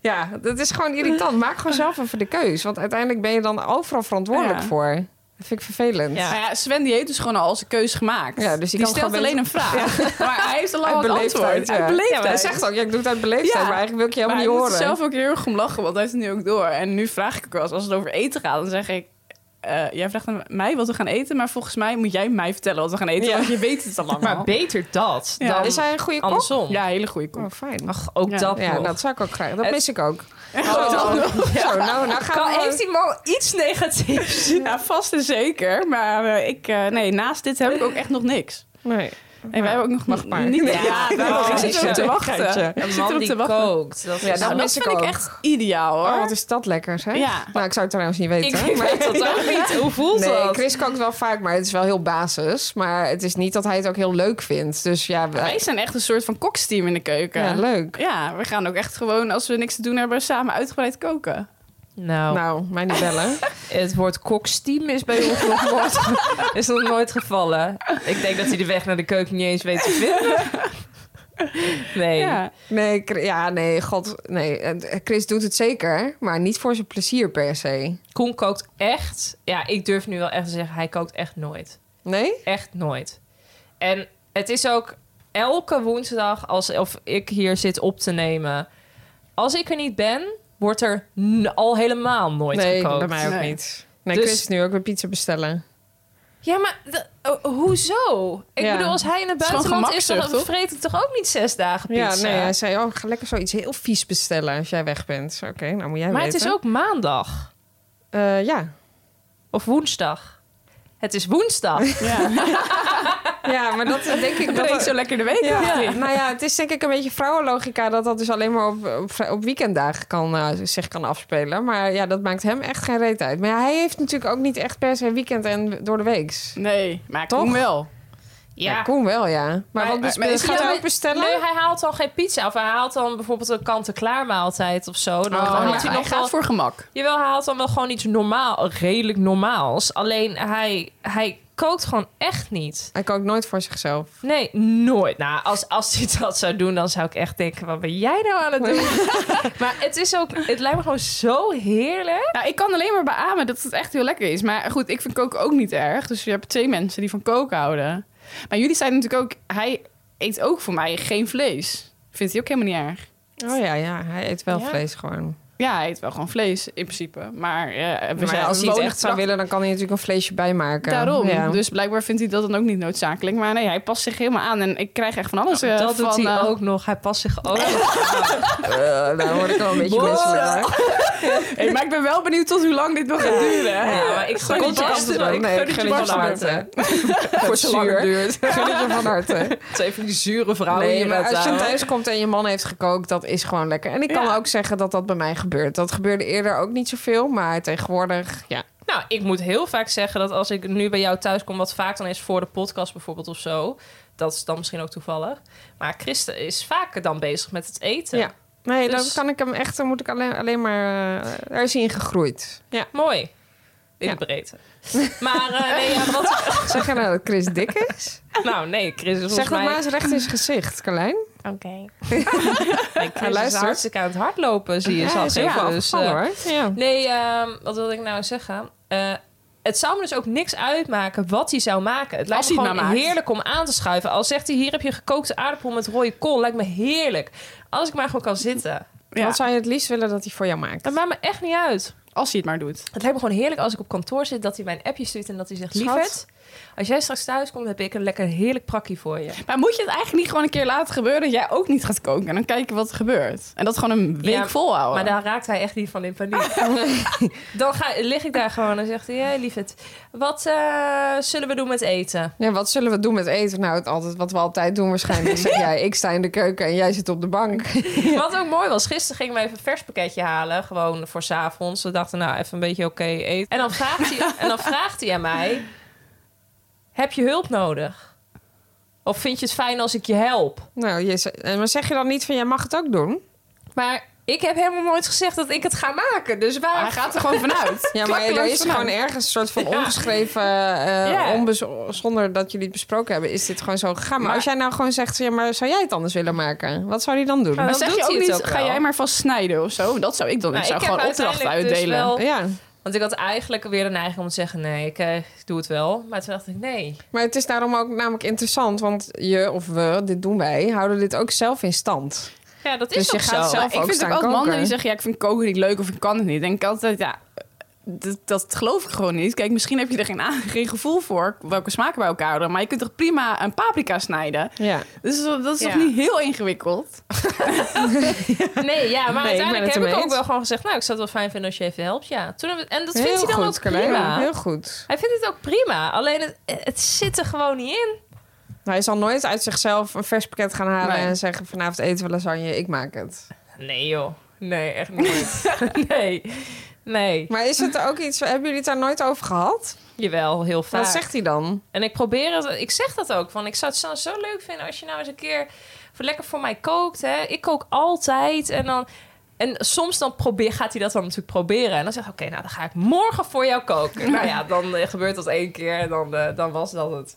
S4: ja, dat is gewoon irritant. Maak gewoon zelf even de keus. Want uiteindelijk ben je dan overal verantwoordelijk
S3: Ja.
S4: voor. Dat vind ik vervelend.
S2: Ja.
S3: Nou ja, Sven die heeft dus gewoon al zijn keuze gemaakt.
S4: Ja, dus die
S3: die
S4: kan
S3: stelt
S4: gewoon
S3: alleen een vraag. Maar hij heeft al lang
S4: Uit
S3: het
S4: beleefdheid.
S3: antwoord.
S4: Ja.
S3: Uit beleefdheid.
S4: Ja, maar hij zegt ook, ja, ik doe het uit beleefdheid.
S3: Ja.
S4: Maar eigenlijk wil ik je
S3: maar
S4: helemaal
S3: hij
S4: niet
S3: moet
S4: horen.
S3: er zelf ook heel erg om lachen, want hij heeft het nu ook door. En nu vraag ik ook wel eens, als het over eten gaat, dan zeg ik... eh, jij vraagt aan mij wat we gaan eten, maar volgens mij moet jij mij vertellen wat we gaan eten,
S4: Ja.
S3: want je weet het al lang
S2: Maar
S3: al.
S2: beter dat
S3: Ja.
S2: dan
S4: Is hij een goede kop?
S2: andersom.
S3: Ja, hele goede kop.
S4: Oh, fijn.
S2: Ach, ook
S3: Ja.
S2: dat
S4: ja,
S2: nog.
S4: nou, dat zou ik ook graag. Dat
S2: Het-
S4: mis ik ook.
S3: Oh, dat nog.
S4: Zo, nou, nou gaan
S2: Kan,
S4: we...
S2: heeft die man iets
S4: Oh,
S2: negatiefs?
S3: Ja, vast en zeker. Maar eh, ik, eh, nee, naast dit heb ik ook echt nog niks.
S4: Nee. Oh,
S3: En wij hebben ook nog
S4: Mag maar.
S3: Niet,
S4: Ja,
S3: ja, daarom. ik zit erop te wachten.
S4: Geitje.
S3: Ik
S2: Een
S3: zit
S2: man
S3: erop te
S2: die
S3: wachten.
S2: kookt. Dat
S4: Ja,
S2: is
S4: dat
S3: Nou,
S2: nou,
S3: dat
S4: mis ik
S3: vind ik
S4: ook.
S3: echt ideaal hoor.
S4: Oh, wat is dat lekker, zeg.
S3: Ja.
S4: Nou, ik zou het trouwens niet
S2: ik
S4: weten. maar-
S2: weet dat ook niet. Hoe voelt
S4: Nee,
S2: dat?
S4: Chris kookt wel vaak, maar het is wel heel basis. Maar het is niet dat hij het ook heel leuk vindt. Dus ja, we-
S3: Wij zijn echt een soort van koksteam in de keuken.
S4: ja leuk.
S3: Ja, we gaan ook echt gewoon, als we niks te doen hebben, samen uitgebreid koken.
S2: Nou,
S4: Nou, mij niet bellen.
S2: het woord koksteam is bij ons nog nooit, is nog nooit gevallen. Ik denk dat hij de weg naar de keuken niet eens weet te vinden. Nee.
S3: Ja.
S4: Nee, Chri- ja, nee, god. Nee, eh, Chris doet het zeker, maar niet voor zijn plezier per se.
S2: Koen kookt echt. Ja, ik durf nu wel echt te zeggen, hij kookt echt nooit.
S4: Nee?
S2: Echt nooit. En het is ook elke woensdag alsof ik hier zit op te nemen. Als ik er niet ben, wordt er n- al helemaal nooit
S4: nee,
S2: gekookt.
S4: bij mij ook
S3: Nee.
S4: niet. Nee,
S2: Dus-
S4: Chris is nu ook weer pizza bestellen.
S2: Ja, maar d- oh, hoezo? Ik
S4: Ja.
S2: bedoel, als hij in het
S3: is gewoon
S2: buitenland is, dan
S3: gemakzucht, toch?
S2: vreet ik toch ook niet zes dagen pizza?
S4: Ja, nee, hij zei, oh, ga lekker zoiets heel vies bestellen als jij weg bent. Oké, nou moet jij
S2: maar het
S4: weten.
S2: is ook maandag
S4: Eh, ja.
S2: of woensdag. Het is woensdag.
S4: ja, maar dat denk ik...
S3: Dat
S4: dat-
S3: ik zo lekker de week
S4: Ja.
S3: ja.
S4: nou ja, het is denk ik een beetje vrouwenlogica dat dat dus alleen maar op, op, vrij- op weekenddagen kan, eh, zich kan afspelen. Maar ja, dat maakt hem echt geen reet uit. Maar ja, hij heeft natuurlijk ook niet echt per se weekend en door de weeks.
S3: Nee, maar
S4: Toch? Oh,
S3: Koen wel.
S4: Ja, Koen wel, ja. Maar, dus wat bes-
S3: maar is
S4: gaat
S2: Ja,
S4: hij
S2: maar-
S4: ook bestellen?
S2: Nee, hij haalt dan geen pizza. Of hij haalt dan bijvoorbeeld een kant-en-klaar maaltijd of zo. Dan
S3: Oh,
S2: haalt
S3: ja.
S2: hij
S3: Hij
S2: nog
S3: gaat
S2: wel...
S3: voor gemak.
S2: Jawel, hij haalt dan wel gewoon iets normaal, redelijk normaals. Alleen hij, hij kookt gewoon echt niet.
S4: Hij kookt nooit voor zichzelf.
S2: Nee, nooit. Nou, als, als hij dat zou doen, dan zou ik echt denken... wat ben jij nou aan het doen? maar het is ook... Het lijkt me gewoon zo heerlijk.
S3: Nou, ik kan alleen maar beamen dat het echt heel lekker is. Maar goed, ik vind koken ook niet erg. Dus je hebt twee mensen die van koken houden. Maar jullie zeiden natuurlijk ook... Hij eet ook voor mij geen vlees. Vindt hij ook helemaal niet erg.
S4: Oh ja, ja, hij eet wel
S2: Ja.
S4: vlees gewoon.
S3: Ja, hij eet wel gewoon vlees in principe. Maar, eh, we
S4: Maar als
S3: zijn, we
S4: hij het
S3: wonen
S4: echt zou
S3: vlak-
S4: willen, dan kan hij natuurlijk een vleesje bijmaken.
S3: Daarom.
S4: Ja.
S3: Dus blijkbaar vindt hij dat dan ook niet noodzakelijk. Maar nee, hij past zich helemaal aan. En ik krijg echt van alles eh,
S2: dat
S3: van...
S2: doet hij
S3: eh,
S2: ook nog. Hij past zich ook nog.
S4: Eh, daar hoor ik al een beetje
S2: Wow.
S4: mensen mee.
S3: Hey, maar ik ben wel benieuwd tot hoe lang dit nog gaat duren. hè?
S2: Ja, maar ik gun het je
S4: Komt
S2: echt.
S4: er wel.
S2: Ik
S4: Nee,
S2: gun het je van harte.
S4: Voor
S2: lang het
S4: zuur. Gun het je van harte.
S2: Het is even die zure vrouw
S4: Nee,
S2: hier
S4: maar
S2: met
S4: als je
S2: haar.
S4: thuis komt en je man heeft gekookt, dat is gewoon lekker. En ik kan
S3: Ja.
S4: ook zeggen dat dat bij mij gebeurt. Dat gebeurde eerder ook niet zoveel, maar tegenwoordig, ja.
S2: Nou, ik moet heel vaak zeggen dat als ik nu bij jou thuis kom, wat vaak dan is voor de podcast bijvoorbeeld of zo. Dat is dan misschien ook toevallig. Maar Christen is vaker dan bezig met het eten.
S4: ja. Nee,
S2: Dus-
S4: dan kan ik hem echt, dan moet ik alleen, alleen maar, eh, daar is hij in gegroeid. Ja.
S2: Mooi. In
S4: Ja.
S2: de breedte. Maar eh, nee, ja, wat,
S4: Zeg je nou dat Chris dik is?
S2: nou nee, Chris is
S4: Zeg
S2: volgens
S4: dat
S2: mij...
S4: maar eens recht in zijn gezicht, Carlijn.
S2: Oké. Nee, Chris is
S4: luistert.
S2: hartstikke aan het hardlopen, zie je.
S4: hij
S2: zag
S4: is
S2: ik.
S4: helemaal
S2: Dus,
S4: afgevallen,
S2: eh,
S4: hoor. Ja.
S2: Nee, ehm, wat wilde ik nou zeggen? Eh, het zou me dus ook niks uitmaken wat hij zou maken. Het lijkt me
S3: Als hij het
S2: gewoon
S3: maar maakt.
S2: heerlijk om aan te schuiven. Al zegt hij, hier heb je gekookte aardappel met rode kool. Lijkt me heerlijk. Als ik maar gewoon kan zitten.
S3: Ja,
S4: Wat zou je het liefst willen dat hij voor jou maakt?
S2: Dat maakt me echt niet uit.
S3: Als hij het maar doet.
S2: Het lijkt me gewoon heerlijk als ik op kantoor zit... dat hij mij een appje stuurt en dat hij zegt...
S4: Schat.
S2: Lieverd, als jij straks thuis komt... heb ik een lekker heerlijk prakkie voor je.
S3: Maar moet je het eigenlijk niet gewoon een keer laten gebeuren dat jij ook niet gaat koken en dan kijken wat er gebeurt? En dat gewoon een week
S2: Ja,
S3: volhouden.
S2: Maar daar raakt hij echt niet van in paniek. Dan ga, lig ik daar gewoon en zegt hij... Hey, lieverd, wat eh, zullen we doen met eten?
S4: Ja, wat zullen we doen met eten? Nou, het altijd, wat we altijd doen waarschijnlijk. Zeg jij, ik sta in de keuken en jij zit op de bank.
S2: Wat ook mooi was, gisteren gingen we even een vers pakketje halen. Gewoon voor 's avonds. We dachten, nou, even een beetje oké eten. En dan, vraagt hij, en dan vraagt hij aan mij... Heb je hulp nodig? Of vind je het fijn als ik je help?
S4: Nou, je, z- eh, maar zeg je dan niet van, jij mag het ook doen?
S2: Maar ik heb helemaal nooit gezegd dat ik het ga maken. Dus waar...
S3: Hij gaat er gewoon vanuit.
S4: Ja, maar er
S3: Klakkeloos
S4: is
S3: vanuit.
S4: gewoon ergens een soort van ongeschreven... eh,
S2: Ja.
S4: onbezo- zonder dat jullie het besproken hebben, is dit gewoon zo gegaan. Maar,
S3: Maar-
S4: als jij nou gewoon zegt, ja, maar zou jij het anders willen maken? Wat zou hij dan doen?
S2: Maar
S3: Maar
S2: dan
S3: zeg
S2: doet
S3: je ook
S2: hij het
S3: niet,
S2: ook
S3: ga
S2: wel.
S3: jij maar vast snijden of zo? Dat zou ik dan doen.
S2: Nou,
S3: Ik zou
S2: ik heb
S3: gewoon opdrachten
S2: uiteindelijk dus
S3: uitdelen.
S2: wel-
S4: ja,
S2: Want ik had eigenlijk weer een neiging om te zeggen... nee, ik, eh, ik doe het wel. Maar toen dacht ik, nee.
S4: maar het is daarom ook namelijk interessant, want je of we, dit doen wij, houden dit ook zelf in stand.
S2: Ja, dat is
S4: Dus je
S2: ook
S4: gaat
S2: zo.
S4: zelf-
S3: Maar ik
S4: ook
S3: vind
S4: staan
S3: ook altijd mannen
S4: koken.
S3: die zeggen, ja, ik vind koken niet leuk of ik kan het niet. Denk ik altijd, ja, dat, dat geloof ik gewoon niet. Kijk, misschien heb je er geen, aan- geen gevoel voor welke smaken bij elkaar horen. Maar je kunt toch prima een paprika snijden?
S4: Ja.
S3: Dus dat dat is
S2: Ja.
S3: toch niet heel ingewikkeld?
S2: Nee, ja, maar
S4: Nee, ik ben
S2: uiteindelijk
S4: het
S2: heb ik
S4: ermee
S2: ook
S4: eens.
S2: wel gewoon gezegd... nou, ik zou het wel fijn vinden als je even helpt, ja. Toen hebben we- en dat vindt
S4: Heel
S2: hij dan
S4: goed,
S2: ook
S4: Carlijn.
S2: prima.
S4: Heel goed.
S2: Hij vindt het ook prima. Alleen het, het zit er gewoon niet in.
S4: Hij zal nooit uit zichzelf een vers pakket gaan halen
S3: Nee.
S4: en zeggen: vanavond eten we lasagne, ik maak het.
S2: Nee joh. Nee, echt niet. nee. Nee.
S4: Maar is het er ook iets? Hebben jullie het daar nooit over gehad?
S2: Jawel, heel vaak.
S4: Wat zegt hij dan?
S2: En ik probeer het. Ik zeg dat ook. Van ik zou het zo, zo leuk vinden als je nou eens een keer voor lekker voor mij kookt. Hè. Ik kook altijd. En dan. En soms dan probeer, gaat hij dat dan natuurlijk proberen. En dan zegt hij, oké, nou dan ga ik morgen voor jou koken. nou ja, dan eh, gebeurt dat één keer en dan, eh, dan was dat het.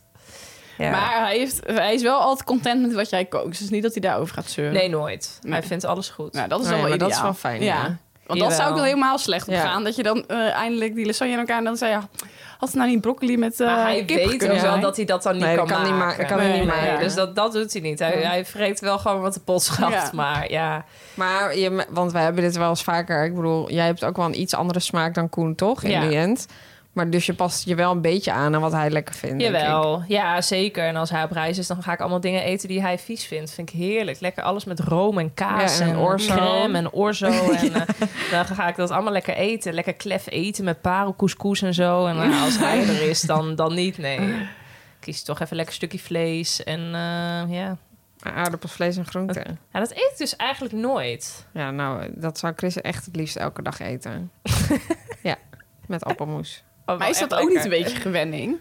S2: Ja.
S3: Maar hij, heeft, hij is wel altijd content met wat jij kookt. Dus niet dat hij daarover gaat zeuren.
S2: Nee, nooit.
S3: Nee.
S2: Hij vindt alles goed.
S3: Nou, dat is
S4: Nee,
S3: wel
S4: Oh maar
S3: ideaal.
S4: dat is wel fijn, ja.
S3: Want dat zou ik
S2: Jawel.
S3: wel helemaal slecht op
S4: Ja.
S3: gaan. Dat je dan eh, eindelijk die lasagne in elkaar... en dan zei ja, had het nou niet broccoli met eh
S2: maar hij
S3: kip
S2: weet
S3: kunnen
S2: ook wel
S3: zijn?
S2: dat hij dat dan niet
S4: Nee,
S2: kan,
S4: dat kan
S2: maken.
S4: niet ma- kan
S3: hij
S2: Nee,
S3: niet
S2: nee,
S3: maken.
S2: Dus dat, dat doet hij niet. Hij, hij vreet wel gewoon wat de pot schaft.
S3: Ja.
S2: Maar ja,
S4: Maar, je, want wij hebben dit wel eens vaker. Ik bedoel, jij hebt ook wel een iets andere smaak dan Koen, toch? In
S2: Ja.
S4: die end. Maar dus je past je wel een beetje aan aan wat hij lekker vindt. denk ik.
S2: jawel. Ja, zeker. En als hij op reis is, dan ga ik allemaal dingen eten die hij vies vindt. Vind ik heerlijk. Lekker alles met room en kaas
S4: Ja, en
S2: en,
S4: orzo.
S2: crème en orzo. En eh, dan ga ik dat allemaal lekker eten. Lekker klef eten met parelcouscous en zo. En eh, als hij er is, dan, dan niet. Nee. Kies toch even lekker stukje vlees. En eh, ja.
S4: Aardappels, vlees en groenten.
S2: ja, dat eet ik dus eigenlijk nooit.
S4: Ja, nou, dat zou Chris echt het liefst elke dag eten. ja, met appelmoes.
S2: Oh,
S3: Maar
S2: wel
S3: is dat
S2: echt
S3: ook niet een
S2: lekker.
S3: beetje gewenning?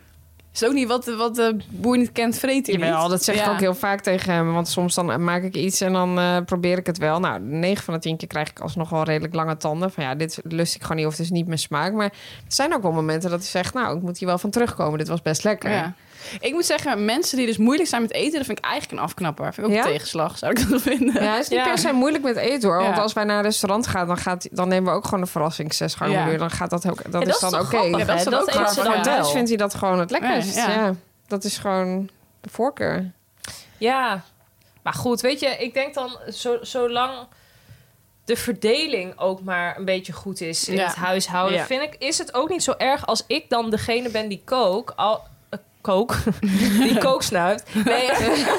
S3: Is het ook niet wat, wat de boer niet kent, vreet hij
S4: Jawel,
S3: niet?
S4: dat zeg ik
S3: Ja.
S4: ook heel vaak tegen hem. Want soms dan eh, maak ik iets en dan eh, probeer ik het wel. Nou, 9 van de 10 keer krijg ik alsnog wel redelijk lange tanden. Van ja, dit lust ik gewoon niet of het is niet mijn smaak. Maar het zijn ook wel momenten dat hij zegt... nou, ik moet hier wel van terugkomen. Dit was best lekker.
S3: Ja. Ik moet zeggen, mensen die dus moeilijk zijn met eten... dat vind ik eigenlijk een afknapper. Vind ik ook
S4: Ja?
S3: een tegenslag, zou ik dat vinden.
S4: Ja, het is niet
S2: Ja.
S4: per se moeilijk met eten hoor. Want
S3: Ja.
S4: als wij naar een restaurant gaan, dan, gaat, dan nemen we ook gewoon een verrassing zes gang
S3: Ja.
S4: Dan gaat dat ook. Dat,
S2: Ja,
S4: is dan
S2: toch
S4: oké.
S2: grappig,
S3: Ja, dat
S2: hè?
S3: is dan ook
S2: eten
S3: grappig.
S2: ze
S3: Maar
S2: dan
S3: thuis
S4: Thuis
S2: wel.
S4: vindt hij dat gewoon het lekkerst.
S3: Nee,
S4: ja.
S3: ja.
S4: dat is gewoon de voorkeur.
S2: Ja, maar goed, weet je, ik denk dan zo, zolang de verdeling ook maar een beetje goed is in
S3: Ja.
S2: het huishouden,
S3: Ja.
S2: vind ik, is het ook niet zo erg als ik dan degene ben die kook, al eh, kook, die kook snuift, nee,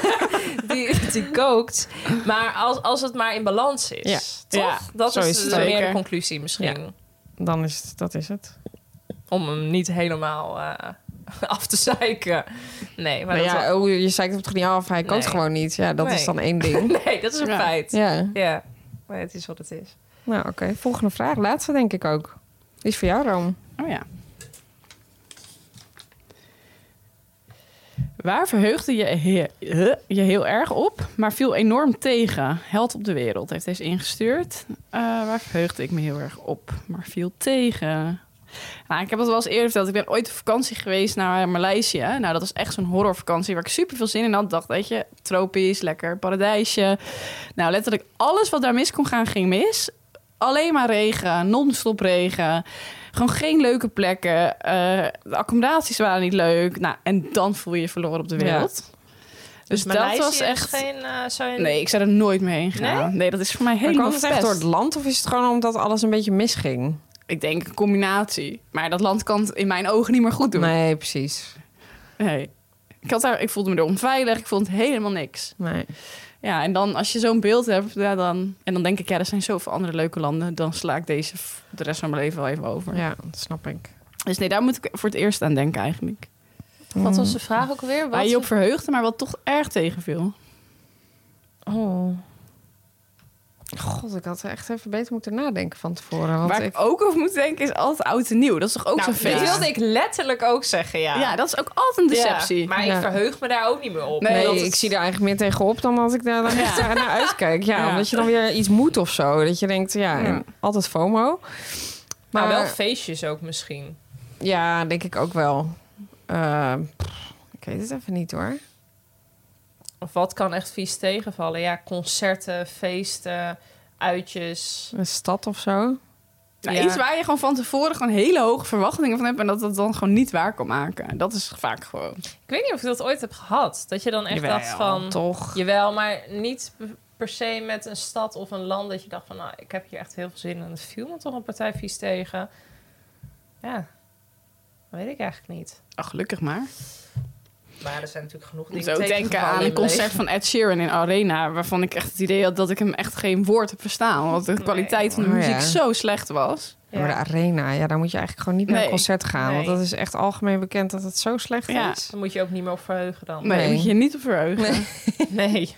S2: die, die kookt, maar als, als het maar in balans is,
S3: Ja.
S2: toch?
S3: Ja,
S2: dat
S4: zo
S2: is,
S4: is het
S2: meer
S3: zeker.
S2: de conclusie misschien,
S4: Dan is het, dat is het.
S2: om hem niet helemaal eh, af te zeiken. Nee, maar
S4: Maar
S2: dat
S4: ja, oh, je zeikt hem toch niet af. Hij kookt
S2: Nee.
S4: gewoon niet. Ja, dat is
S2: Nee.
S4: dan één ding.
S2: wel- nee, dat is een
S3: Ja.
S2: feit. Ja,
S4: ja.
S2: maar het is wat het is.
S4: Nou, oké. Volgende vraag. Laatste denk ik ook. Die is voor jou, Rome.
S3: Oh ja. Waar verheugde je he- huh, je heel erg op, maar viel enorm tegen? Held op de wereld heeft deze ingestuurd. Eh, waar verheugde ik me heel erg op, maar viel tegen? Nou, ik heb dat wel eens eerder verteld. Ik ben ooit op vakantie geweest naar Maleisië. Nou, dat was echt zo'n horrorvakantie waar ik super veel zin in had. Dacht, weet je, tropisch, lekker paradijsje. Nou, letterlijk alles wat daar mis kon gaan, ging mis. Alleen maar regen, non-stop regen. Gewoon geen leuke plekken. Eh, de accommodaties waren niet leuk. Nou, en dan voel je je verloren op de
S4: Ja.
S3: wereld. Dus dat
S2: Maleisië
S3: was
S2: is
S3: echt...
S2: Geen, eh, zou je-
S3: Nee, ik zou er nooit mee heen gaan. Nee, dat is voor mij
S4: Maar
S3: helemaal
S4: kwam het echt
S3: verpest.
S4: door het land of is het gewoon omdat alles een beetje misging?
S3: Ik denk een combinatie. Maar dat land kan het in mijn ogen niet meer goed doen.
S4: Nee, precies.
S3: Nee. Ik, had daar, ik voelde me er onveilig. Ik vond helemaal niks.
S4: Nee.
S3: Ja, en dan als je zo'n beeld hebt, ja, dan, en dan denk ik, ja, er zijn zoveel andere leuke landen. Dan sla ik deze f- de rest van mijn leven wel even over.
S4: Ja, dat snap ik.
S3: Dus nee, daar moet ik voor het eerst aan denken eigenlijk.
S2: Wat was de vraag ook weer?
S3: Waar je je op verheugde, maar wat toch erg tegenviel.
S2: Oh.
S4: God, ik had echt even beter moeten nadenken van tevoren. Want
S3: Waar
S4: ik...
S3: ik ook over moet denken is altijd oud en nieuw. Dat is toch ook
S2: Nou,
S3: zo'n
S2: dit
S3: feest?
S2: wilde ik letterlijk ook zeggen, ja.
S3: ja. dat is ook altijd een
S2: Ja,
S3: deceptie.
S2: maar
S4: Ja.
S2: ik verheug me daar ook niet meer op.
S4: Nee,
S3: dat
S2: Omdat
S3: is-
S4: ik zie daar eigenlijk meer tegenop dan dat ik daar dan
S3: Ja.
S4: echt eh, naar naar uitkijk. Ja,
S3: Ja.
S4: omdat je dan weer iets moet of zo. Dat je denkt, ja,
S3: Ja.
S4: en altijd FOMO. Maar
S2: Maar wel feestjes ook misschien.
S4: ja, denk ik ook wel. Eh, pff, ik weet het even niet hoor.
S2: Of wat kan echt vies tegenvallen? Ja, concerten, feesten, uitjes.
S4: Een stad of zo.
S3: Nou,
S2: Ja.
S3: Iets waar je gewoon van tevoren gewoon hele hoge verwachtingen van hebt en dat dat dan gewoon niet waar kan maken. Dat is vaak gewoon.
S2: Ik weet niet of ik dat ooit heb gehad. Dat je dan echt
S3: Jawel,
S2: dacht van...
S4: Toch.
S2: Jawel, maar niet p- per se met een stad of een land... dat je dacht van, nou, ik heb hier echt heel veel zin in. En het viel me toch een partij vies tegen. Ja, dat weet ik eigenlijk niet.
S3: Ach, oh, gelukkig maar.
S2: Maar er zijn natuurlijk genoeg
S3: Ik
S2: dingen
S3: moet ook denken
S2: tegengevallen
S3: aan
S2: in
S3: een
S2: mijn
S3: concert van Ed Sheeran in Arena, waarvan ik echt het idee had dat ik hem echt geen woord heb verstaan. Want de kwaliteit van de
S4: Oh,
S3: muziek
S4: ja.
S3: zo slecht was.
S4: Ja, maar
S2: leven. Ja.
S4: de arena, ja, daar moet je eigenlijk gewoon niet naar
S3: Nee.
S4: een concert gaan. Want
S2: Nee.
S4: dat is echt algemeen bekend dat het zo slecht
S3: Ja.
S4: is.
S2: Daar moet je ook niet meer op verheugen dan.
S3: Nee,
S4: Nee.
S3: moet je je niet op verheugen.
S2: Nee,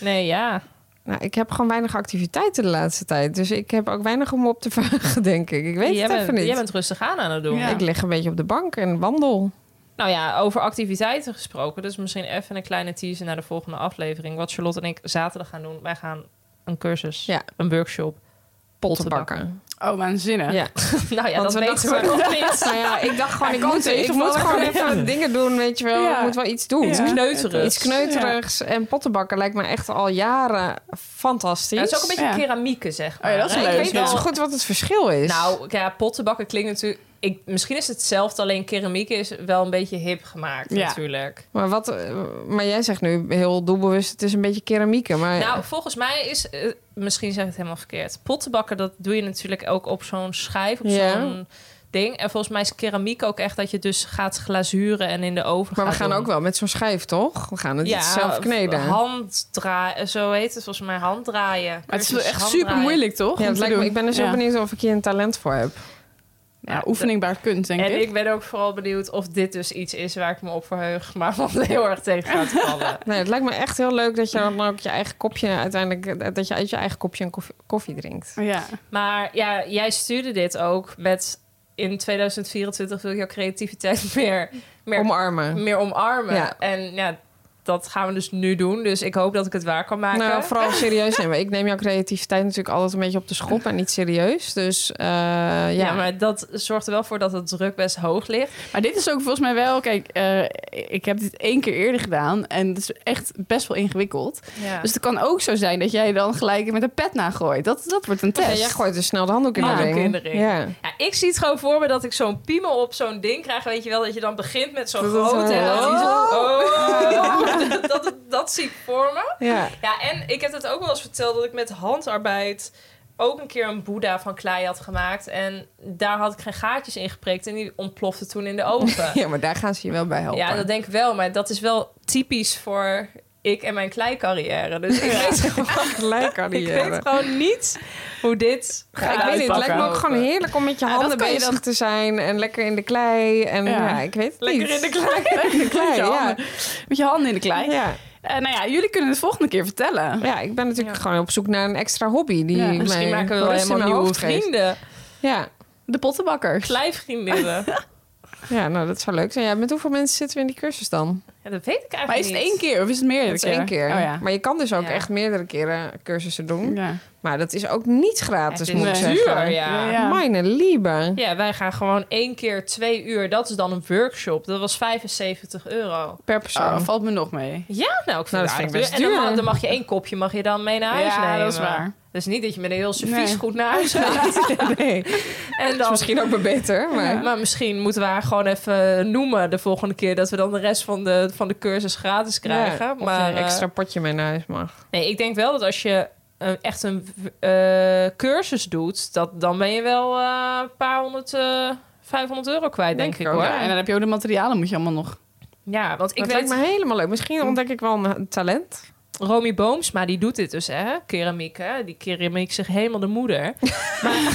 S2: nee ja.
S4: Nou, ik heb gewoon weinig activiteiten de laatste tijd. Dus ik heb ook weinig om op te vragen, denk ik. Ik weet
S2: jij,
S4: het
S2: bent,
S4: even niet.
S2: jij bent rustig aan aan het doen.
S3: Ja.
S4: Ik lig een beetje op de bank en wandel.
S2: Nou ja, over activiteiten gesproken. Dus misschien even een kleine teaser naar de volgende aflevering. Wat Charlotte en ik zaterdag gaan doen. Wij gaan een cursus,
S4: Ja.
S2: een workshop pol
S4: te bakken.
S3: Oh, waanzinnig.
S4: Ja.
S2: Nou ja,
S4: Want
S2: dat
S4: we
S2: weten we
S4: dachten-
S2: nog niet.
S4: Nou ja, ik dacht gewoon,
S3: Maar
S4: ik
S3: ik
S4: moet,
S3: moet-
S4: ik
S3: ik
S4: moet
S3: moet
S4: gewoon
S3: wel
S4: even
S3: even-
S4: dingen doen, weet je wel.
S3: Ja.
S4: Ik moet wel iets doen.
S3: Ja.
S2: Kneuterig.
S4: Iets kneuterigs. En pottenbakken lijkt me echt al jaren fantastisch.
S2: Ja, het is ook een beetje
S3: Ja.
S2: keramieken, zeg maar.
S3: Oh ja, dat is
S2: hè?
S3: leuk,
S4: Ik
S2: Ik
S4: weet
S3: ja.
S4: niet
S2: wel-
S4: zo goed wat het verschil is.
S2: Nou, ja, pottenbakken klinkt natuurlijk... Ik, misschien is het hetzelfde, alleen keramiek is wel een beetje hip gemaakt
S3: Ja.
S2: natuurlijk.
S4: Maar, wat, eh, maar jij zegt nu heel doelbewust, het is een beetje keramieken. Maar
S3: Oh
S2: Nou, volgens mij is... eh, misschien zeg ik het helemaal verkeerd. Pottenbakken, dat doe je natuurlijk ook op zo'n schijf, op
S4: Ja.
S2: zo'n ding. En volgens mij is keramiek ook echt dat je dus gaat glazuren en in de oven
S4: maar we
S2: gaat
S4: gaan
S2: doen.
S4: ook wel met zo'n schijf, toch? We gaan het niet zelf kneden.
S2: hand draaien. Zo heet het volgens mij, handdraaien.
S3: Maar het is wel
S2: Cursus
S3: echt
S2: handdraaien.
S3: super moeilijk, toch?
S4: Ja,
S3: Om
S4: het
S3: te
S4: lijkt me,
S3: doen.
S4: ik ben er zo
S3: Ja.
S4: benieuwd of ik hier een talent voor heb.
S3: Ja, oefeningbaar kunt, denk
S2: En
S3: ik.
S2: ik ben ook vooral benieuwd of dit dus iets is waar ik me op verheug, maar wat heel erg tegen gaat vallen.
S4: Nee, het lijkt me echt heel leuk dat je dan ook je eigen kopje uiteindelijk... dat je uit je eigen kopje een koffie, koffie drinkt.
S3: Ja.
S2: Maar ja, jij stuurde dit ook met in 2024 wil ik jouw creativiteit meer, meer,
S4: Omarmen.
S2: meer omarmen.
S4: Ja.
S2: En ja, dat gaan we dus nu doen. Dus ik hoop dat ik het waar kan maken.
S4: Nou, vooral serieus nemen. Ik neem jouw creativiteit natuurlijk altijd een beetje op de schop en niet serieus. Dus eh, ja.
S2: ja. maar dat zorgt er wel voor dat het druk best hoog ligt.
S3: Maar dit is ook volgens mij wel... Kijk, eh, ik heb dit één keer eerder gedaan. En het is echt best wel ingewikkeld.
S2: Ja.
S3: Dus het kan ook zo zijn dat jij dan gelijk met een pet nagooit. Dat, dat wordt een
S4: Ja,
S3: test.
S4: jij gooit dus snel de handdoek in de
S2: Handdoek
S4: ring.
S2: in de ring.
S4: Ja.
S2: Ja, ik zie het gewoon voor me dat ik zo'n piemel op zo'n ding krijg. Weet je wel, dat je dan begint met zo'n
S4: Dat is
S2: grote.
S4: wel-
S2: en dat die zo- Oh. dat, dat, dat zie ik voor me.
S4: ja.
S2: Ja, en ik heb het ook wel eens verteld dat ik met handarbeid ook een keer een boeddha van klei had gemaakt. En daar had ik geen gaatjes in geprikt en die ontplofte toen in de oven.
S4: ja, maar daar gaan ze je wel bij helpen.
S2: ja, dat denk ik wel, maar dat is wel typisch voor ik en mijn kleicarrière. Dus ik, weet, gewoon,
S4: gelijk aan die eh,
S2: ik weet gewoon niet hoe dit gaat
S4: ik weet niet, het lijkt me ook
S2: uitpakken.
S4: gewoon heerlijk om met je
S3: Ja, dat
S4: handen
S3: kan je
S4: bezig
S3: dan-
S4: te zijn. En lekker in de klei. En ja,
S3: Ja.
S4: ik weet het
S2: Lekker
S4: niet.
S2: in de klei.
S4: in de klei,
S3: met, je
S4: ja.
S3: handen, met je handen in de klei.
S4: Ja.
S3: Eh, nou ja, jullie kunnen het volgende keer vertellen.
S4: ja, ik ben natuurlijk gewoon op zoek naar een extra hobby. Die
S3: Ja,
S4: mij
S2: Misschien maken we wel
S4: rust in
S2: helemaal
S4: mijn
S2: nieuwe
S4: hoofd geeft.
S2: vrienden.
S4: Ja.
S3: De pottenbakker.
S2: Kleivriendinnen.
S4: ja, nou dat zou leuk zijn. Ja, met hoeveel mensen zitten we in die cursus dan?
S2: Ja, dat weet ik eigenlijk
S3: Maar is het
S2: niet.
S3: één keer of is het meerdere
S4: Dat is één keer.
S3: Oh ja.
S4: Maar je kan dus ook
S2: Ja.
S4: echt meerdere keren cursussen doen.
S3: ja.
S4: Maar dat is ook niet
S2: Ja,
S4: gratis,
S2: het
S4: moet ik
S2: is
S3: nee.
S4: zeggen.
S2: duur, ja.
S3: Ja.
S4: Meine liebe.
S2: Ja, wij gaan gewoon één keer twee uur. Dat is dan een workshop. Dat was 75 euro.
S4: Per persoon.
S3: Oh, valt me nog mee.
S2: Ja, nou, ik vind
S4: Nou, dat
S2: het
S4: vind ik
S2: aardig
S4: best
S2: duur. En dan
S4: duur.
S2: mag, dan mag je één kopje mag je dan mee naar huis
S3: Ja,
S2: nemen.
S3: dat is waar.
S2: Dus niet dat je met een heel servies
S3: Nee.
S2: goed naar huis gaat.
S4: nee.
S2: En
S4: Dat is
S2: dan,
S4: misschien ook maar beter. Maar...
S2: Maar misschien moeten we haar gewoon even noemen de volgende keer... dat we dan de rest van de, van de cursus gratis krijgen.
S4: Ja, of je
S2: maar
S4: een
S2: eh,
S4: extra potje mee naar huis mag.
S2: nee, ik denk wel dat als je eh, echt een eh, cursus doet... Dat, dan ben je wel eh, een paar honderd, eh 500 euro kwijt, denk,
S4: Denk ik
S2: ik hoor.
S4: ook,
S3: Ja, en dan heb je ook de materialen, moet je allemaal nog.
S2: Ja, want ik
S4: dat
S2: weet...
S4: lijkt me helemaal leuk. Misschien ontdek ik wel een talent.
S2: Romy Boomsma, die doet dit dus, hè? Keramiek, hè? Die keramiek zich helemaal de moeder. maar,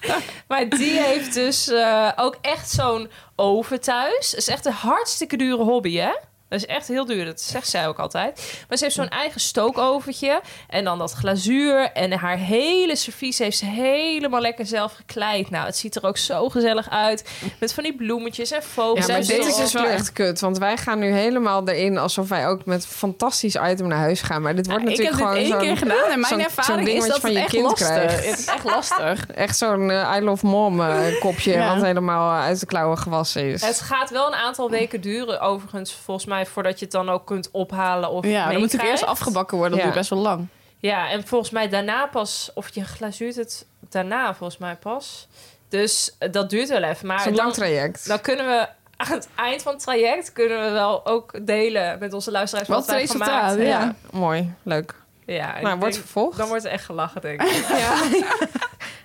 S2: maar die heeft dus eh, ook echt zo'n oven thuis. Dat is echt een hartstikke dure hobby, hè? Dat is echt heel duur, dat zegt zij ook altijd. Maar ze heeft zo'n eigen stookoventje en dan dat glazuur. En haar hele servies heeft ze helemaal lekker zelf gekleid. Nou, het ziet er ook zo gezellig uit. Met van die bloemetjes en vogels.
S4: Ja, maar
S2: en
S4: dit is
S2: zon.
S4: dus wel echt kut. Want wij gaan nu helemaal erin alsof wij ook met fantastisch item naar huis gaan. Maar dit wordt
S3: ik heb
S4: natuurlijk
S3: dit
S4: gewoon
S3: één
S4: zo'n-
S3: keer gedaan en mijn
S4: zo'n- zo'n
S3: ervaring
S4: ding
S3: is
S4: wat je
S3: dat
S4: van
S3: het
S4: je
S3: echt
S4: kind
S3: lastig
S4: krijgt.
S3: Het is echt lastig.
S4: Echt zo'n eh, I love mom eh, kopje
S3: Ja.
S4: wat helemaal uit de klauwen gewassen is.
S2: Het gaat wel een aantal weken duren, overigens, volgens mij, voordat je het dan ook kunt ophalen of
S3: Ja, dan moet het
S2: meekrijgt.
S3: eerst afgebakken worden. Dat
S4: Ja.
S3: duurt best wel lang.
S2: Ja, en volgens mij daarna pas, of je glazuurt het daarna volgens mij pas. Dus eh, dat duurt wel even. Maar
S4: Zo'n
S2: dan,
S4: lang traject.
S2: dan kunnen we aan het eind van het traject kunnen we wel ook delen met onze luisteraars wat,
S3: Wat het
S2: wij
S3: resultaat,
S2: gemaakt hebben.
S3: ja.
S4: Mooi, leuk.
S2: Ja, en
S4: nou,
S2: ik
S4: wordt
S2: denk-
S4: vervolgd.
S2: dan wordt er echt gelachen, denk ik.
S4: Ja.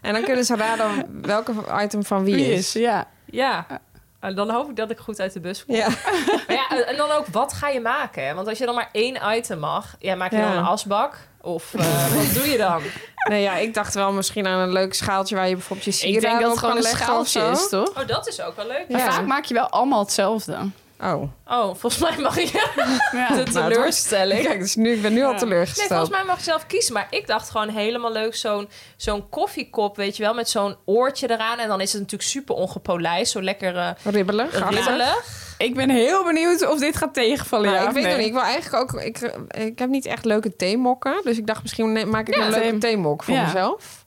S4: en dan kunnen ze raden welke item van wie,
S3: Wie
S4: is.
S3: Ja.
S2: ja. En Eh, dan hoop ik dat ik goed uit de bus kom.
S4: Ja.
S2: Maar ja, en dan ook, wat ga je maken? hè? Want als je dan maar één item mag, ja, maak je
S4: Ja.
S2: dan een asbak? Of eh, wat doe je dan?
S4: Nee, ja, ik dacht wel misschien aan een leuk schaaltje waar je bijvoorbeeld je sieraden
S3: Ik denk dat
S4: op
S3: het gewoon
S4: kan
S3: een
S4: leggen of
S3: schaaltje
S4: zo.
S3: is, toch?
S2: Oh, dat is ook wel leuk.
S4: Ja.
S3: Maar vaak maak je wel allemaal hetzelfde.
S4: Oh.
S2: Oh, volgens mij mag je
S3: Ja.
S4: nou,
S2: de teleurstelling.
S4: Kijk, dus nu, ik ben nu al
S3: Ja.
S2: Nee,
S4: teleurgesteld.
S2: volgens mij mag je zelf kiezen. Maar ik dacht gewoon helemaal leuk zo'n zo'n koffiekop, weet je wel, met zo'n oortje eraan. En dan is het natuurlijk super ongepolijst, zo lekker eh,
S4: Ribbelen, gasten.
S2: ribbelig.
S3: Ik ben heel benieuwd of dit gaat tegenvallen.
S4: Maar
S3: ja,
S4: ik
S3: of
S4: weet
S3: nee.
S4: het niet. Ik wil eigenlijk ook. Ik, ik heb niet echt leuke theemokken. Dus ik dacht, misschien ne- maak ik
S3: Ja,
S4: een leuke
S3: thee-
S4: theemok voor
S3: ja.
S4: mezelf.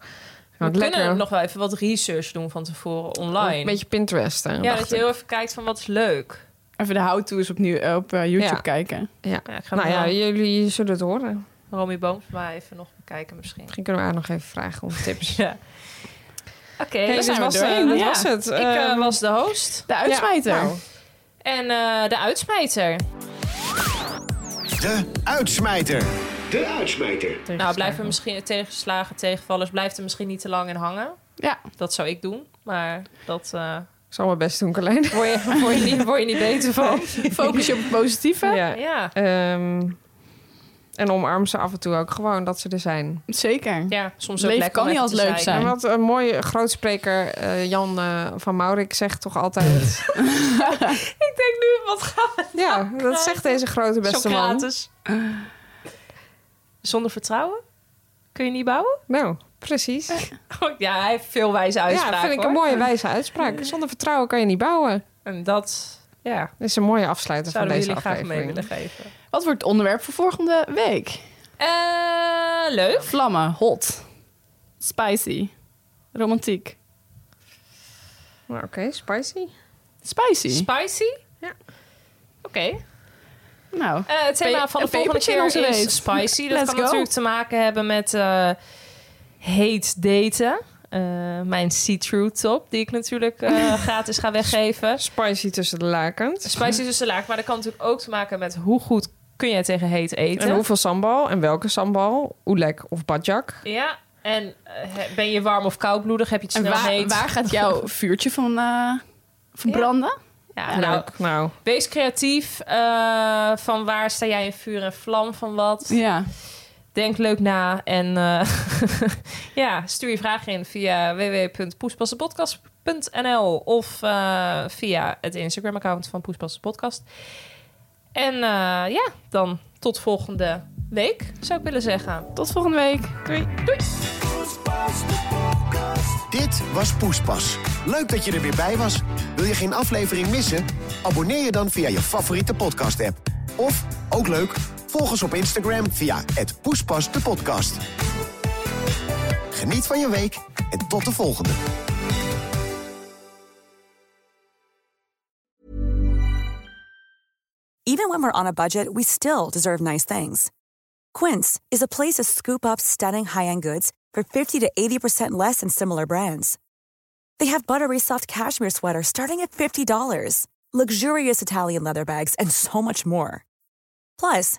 S2: We
S4: Wat
S2: kunnen nog wel even wat research doen van tevoren online.
S4: Een beetje
S2: ja,
S4: Pinteresten. dacht
S2: dat je
S4: ik.
S2: heel even kijkt van wat is leuk.
S3: Even de how-to's opnieuw eh, op eh, YouTube
S4: Ja.
S3: kijken.
S4: ja.
S2: Ja, ik ga
S4: Nou ja,
S2: hem
S4: jullie zullen het horen.
S2: wel- Romy Boomsma even nog bekijken misschien.
S4: Misschien kunnen we haar nog even vragen om tips.
S2: Ja. Oké,
S4: Hey,
S2: dan
S4: dit
S2: zijn we
S4: was,
S2: door.
S4: eh, dit
S2: Ja.
S4: was het.
S2: Ik eh,
S4: Ehm,
S2: was de host.
S3: De uitsmijter.
S4: Ja, nou.
S2: En eh, de uitsmijter.
S1: De uitsmijter.
S5: De uitsmijter.
S2: Nou, blijven we misschien tegenslagen, tegenvallers, blijft er misschien niet te lang in hangen.
S3: Ja.
S2: Dat zou ik doen, maar dat eh,
S4: Ik zal mijn best doen, Carlijn.
S2: word, je, word, je niet, word je niet beter van.
S3: Focus je op het positieve.
S4: Ja.
S2: Ja,
S4: Ehm, en omarm ze af en toe ook gewoon dat ze er zijn.
S3: Zeker.
S2: ja soms ook
S3: Leven
S2: lekker
S3: kan
S2: om
S3: niet
S2: even
S3: altijd
S2: te
S3: leuk
S2: zeiken.
S4: En
S3: zijn.
S4: wat een mooie grootspreker eh, Jan eh, van Maurik zegt toch altijd...
S2: Ik denk nu, wat gaan we
S4: ja, dat zegt deze grote beste man.
S2: Socrates. Zonder vertrouwen? Kun je niet bouwen?
S4: Nou, precies.
S2: Oh, ja, hij heeft veel wijze uitspraken.
S4: ja, vind ik
S2: hoor.
S4: een mooie wijze uitspraak. Zonder vertrouwen kan je niet bouwen.
S2: En dat ja,
S4: Dit is een mooie afsluiter van
S2: zouden we
S4: deze
S2: jullie graag mee
S4: aflevering.
S2: willen geven.
S3: Wat wordt het onderwerp voor volgende week?
S2: Eh, leuk.
S3: Vlammen, hot, spicy, romantiek.
S4: Nou, Oké, spicy.
S3: Spicy.
S2: Spicy?
S4: Ja.
S2: Oké.
S3: nou,
S2: Eh, het thema
S3: Pe-
S2: van de
S3: een
S2: volgende
S3: pepertje in
S2: keer is
S3: onze reet.
S2: spicy. Dat
S3: Let's
S2: kan
S3: go.
S2: natuurlijk te maken hebben met eh, heet daten. Eh, mijn see-through top, die ik natuurlijk eh, gratis ga weggeven.
S4: Spicy tussen de lakens.
S2: Spicy tussen de laag. Maar dat kan natuurlijk ook te maken met hoe goed kun jij tegen heet eten.
S4: En hoeveel sambal en welke sambal? Oelek of badjak?
S2: Ja, en eh, he- ben je warm of koudbloedig? Heb je het
S3: en
S2: snel
S3: waar,
S2: heet?
S3: waar gaat jouw vuurtje van eh, verbranden?
S2: Ja, nou,
S4: Leuk, nou.
S2: wees creatief. eh, van waar sta jij in vuur en vlam? Van wat?
S3: Ja.
S2: Denk leuk na en eh, ja, stuur je vraag in via www.poespassenpodcast.nl of eh, via het Instagram-account van Poespassenpodcast. En eh, ja, dan tot volgende week, zou ik willen zeggen.
S3: Tot volgende week.
S2: Doei. Doei.
S1: Dit was Poespas. Leuk dat je er weer bij was. Wil je geen aflevering missen? Abonneer je dan via je favoriete podcast-app. Of, ook leuk, volg ons op Instagram via het Poespas de podcast. Geniet van je week en tot de volgende.
S6: Even when we're on a budget, we still deserve nice things. Quince is a place to scoop up stunning high end goods for 50 to 80% less than similar brands. They have buttery soft cashmere sweaters starting at $50, luxurious Italian leather bags, and so much more. Plus,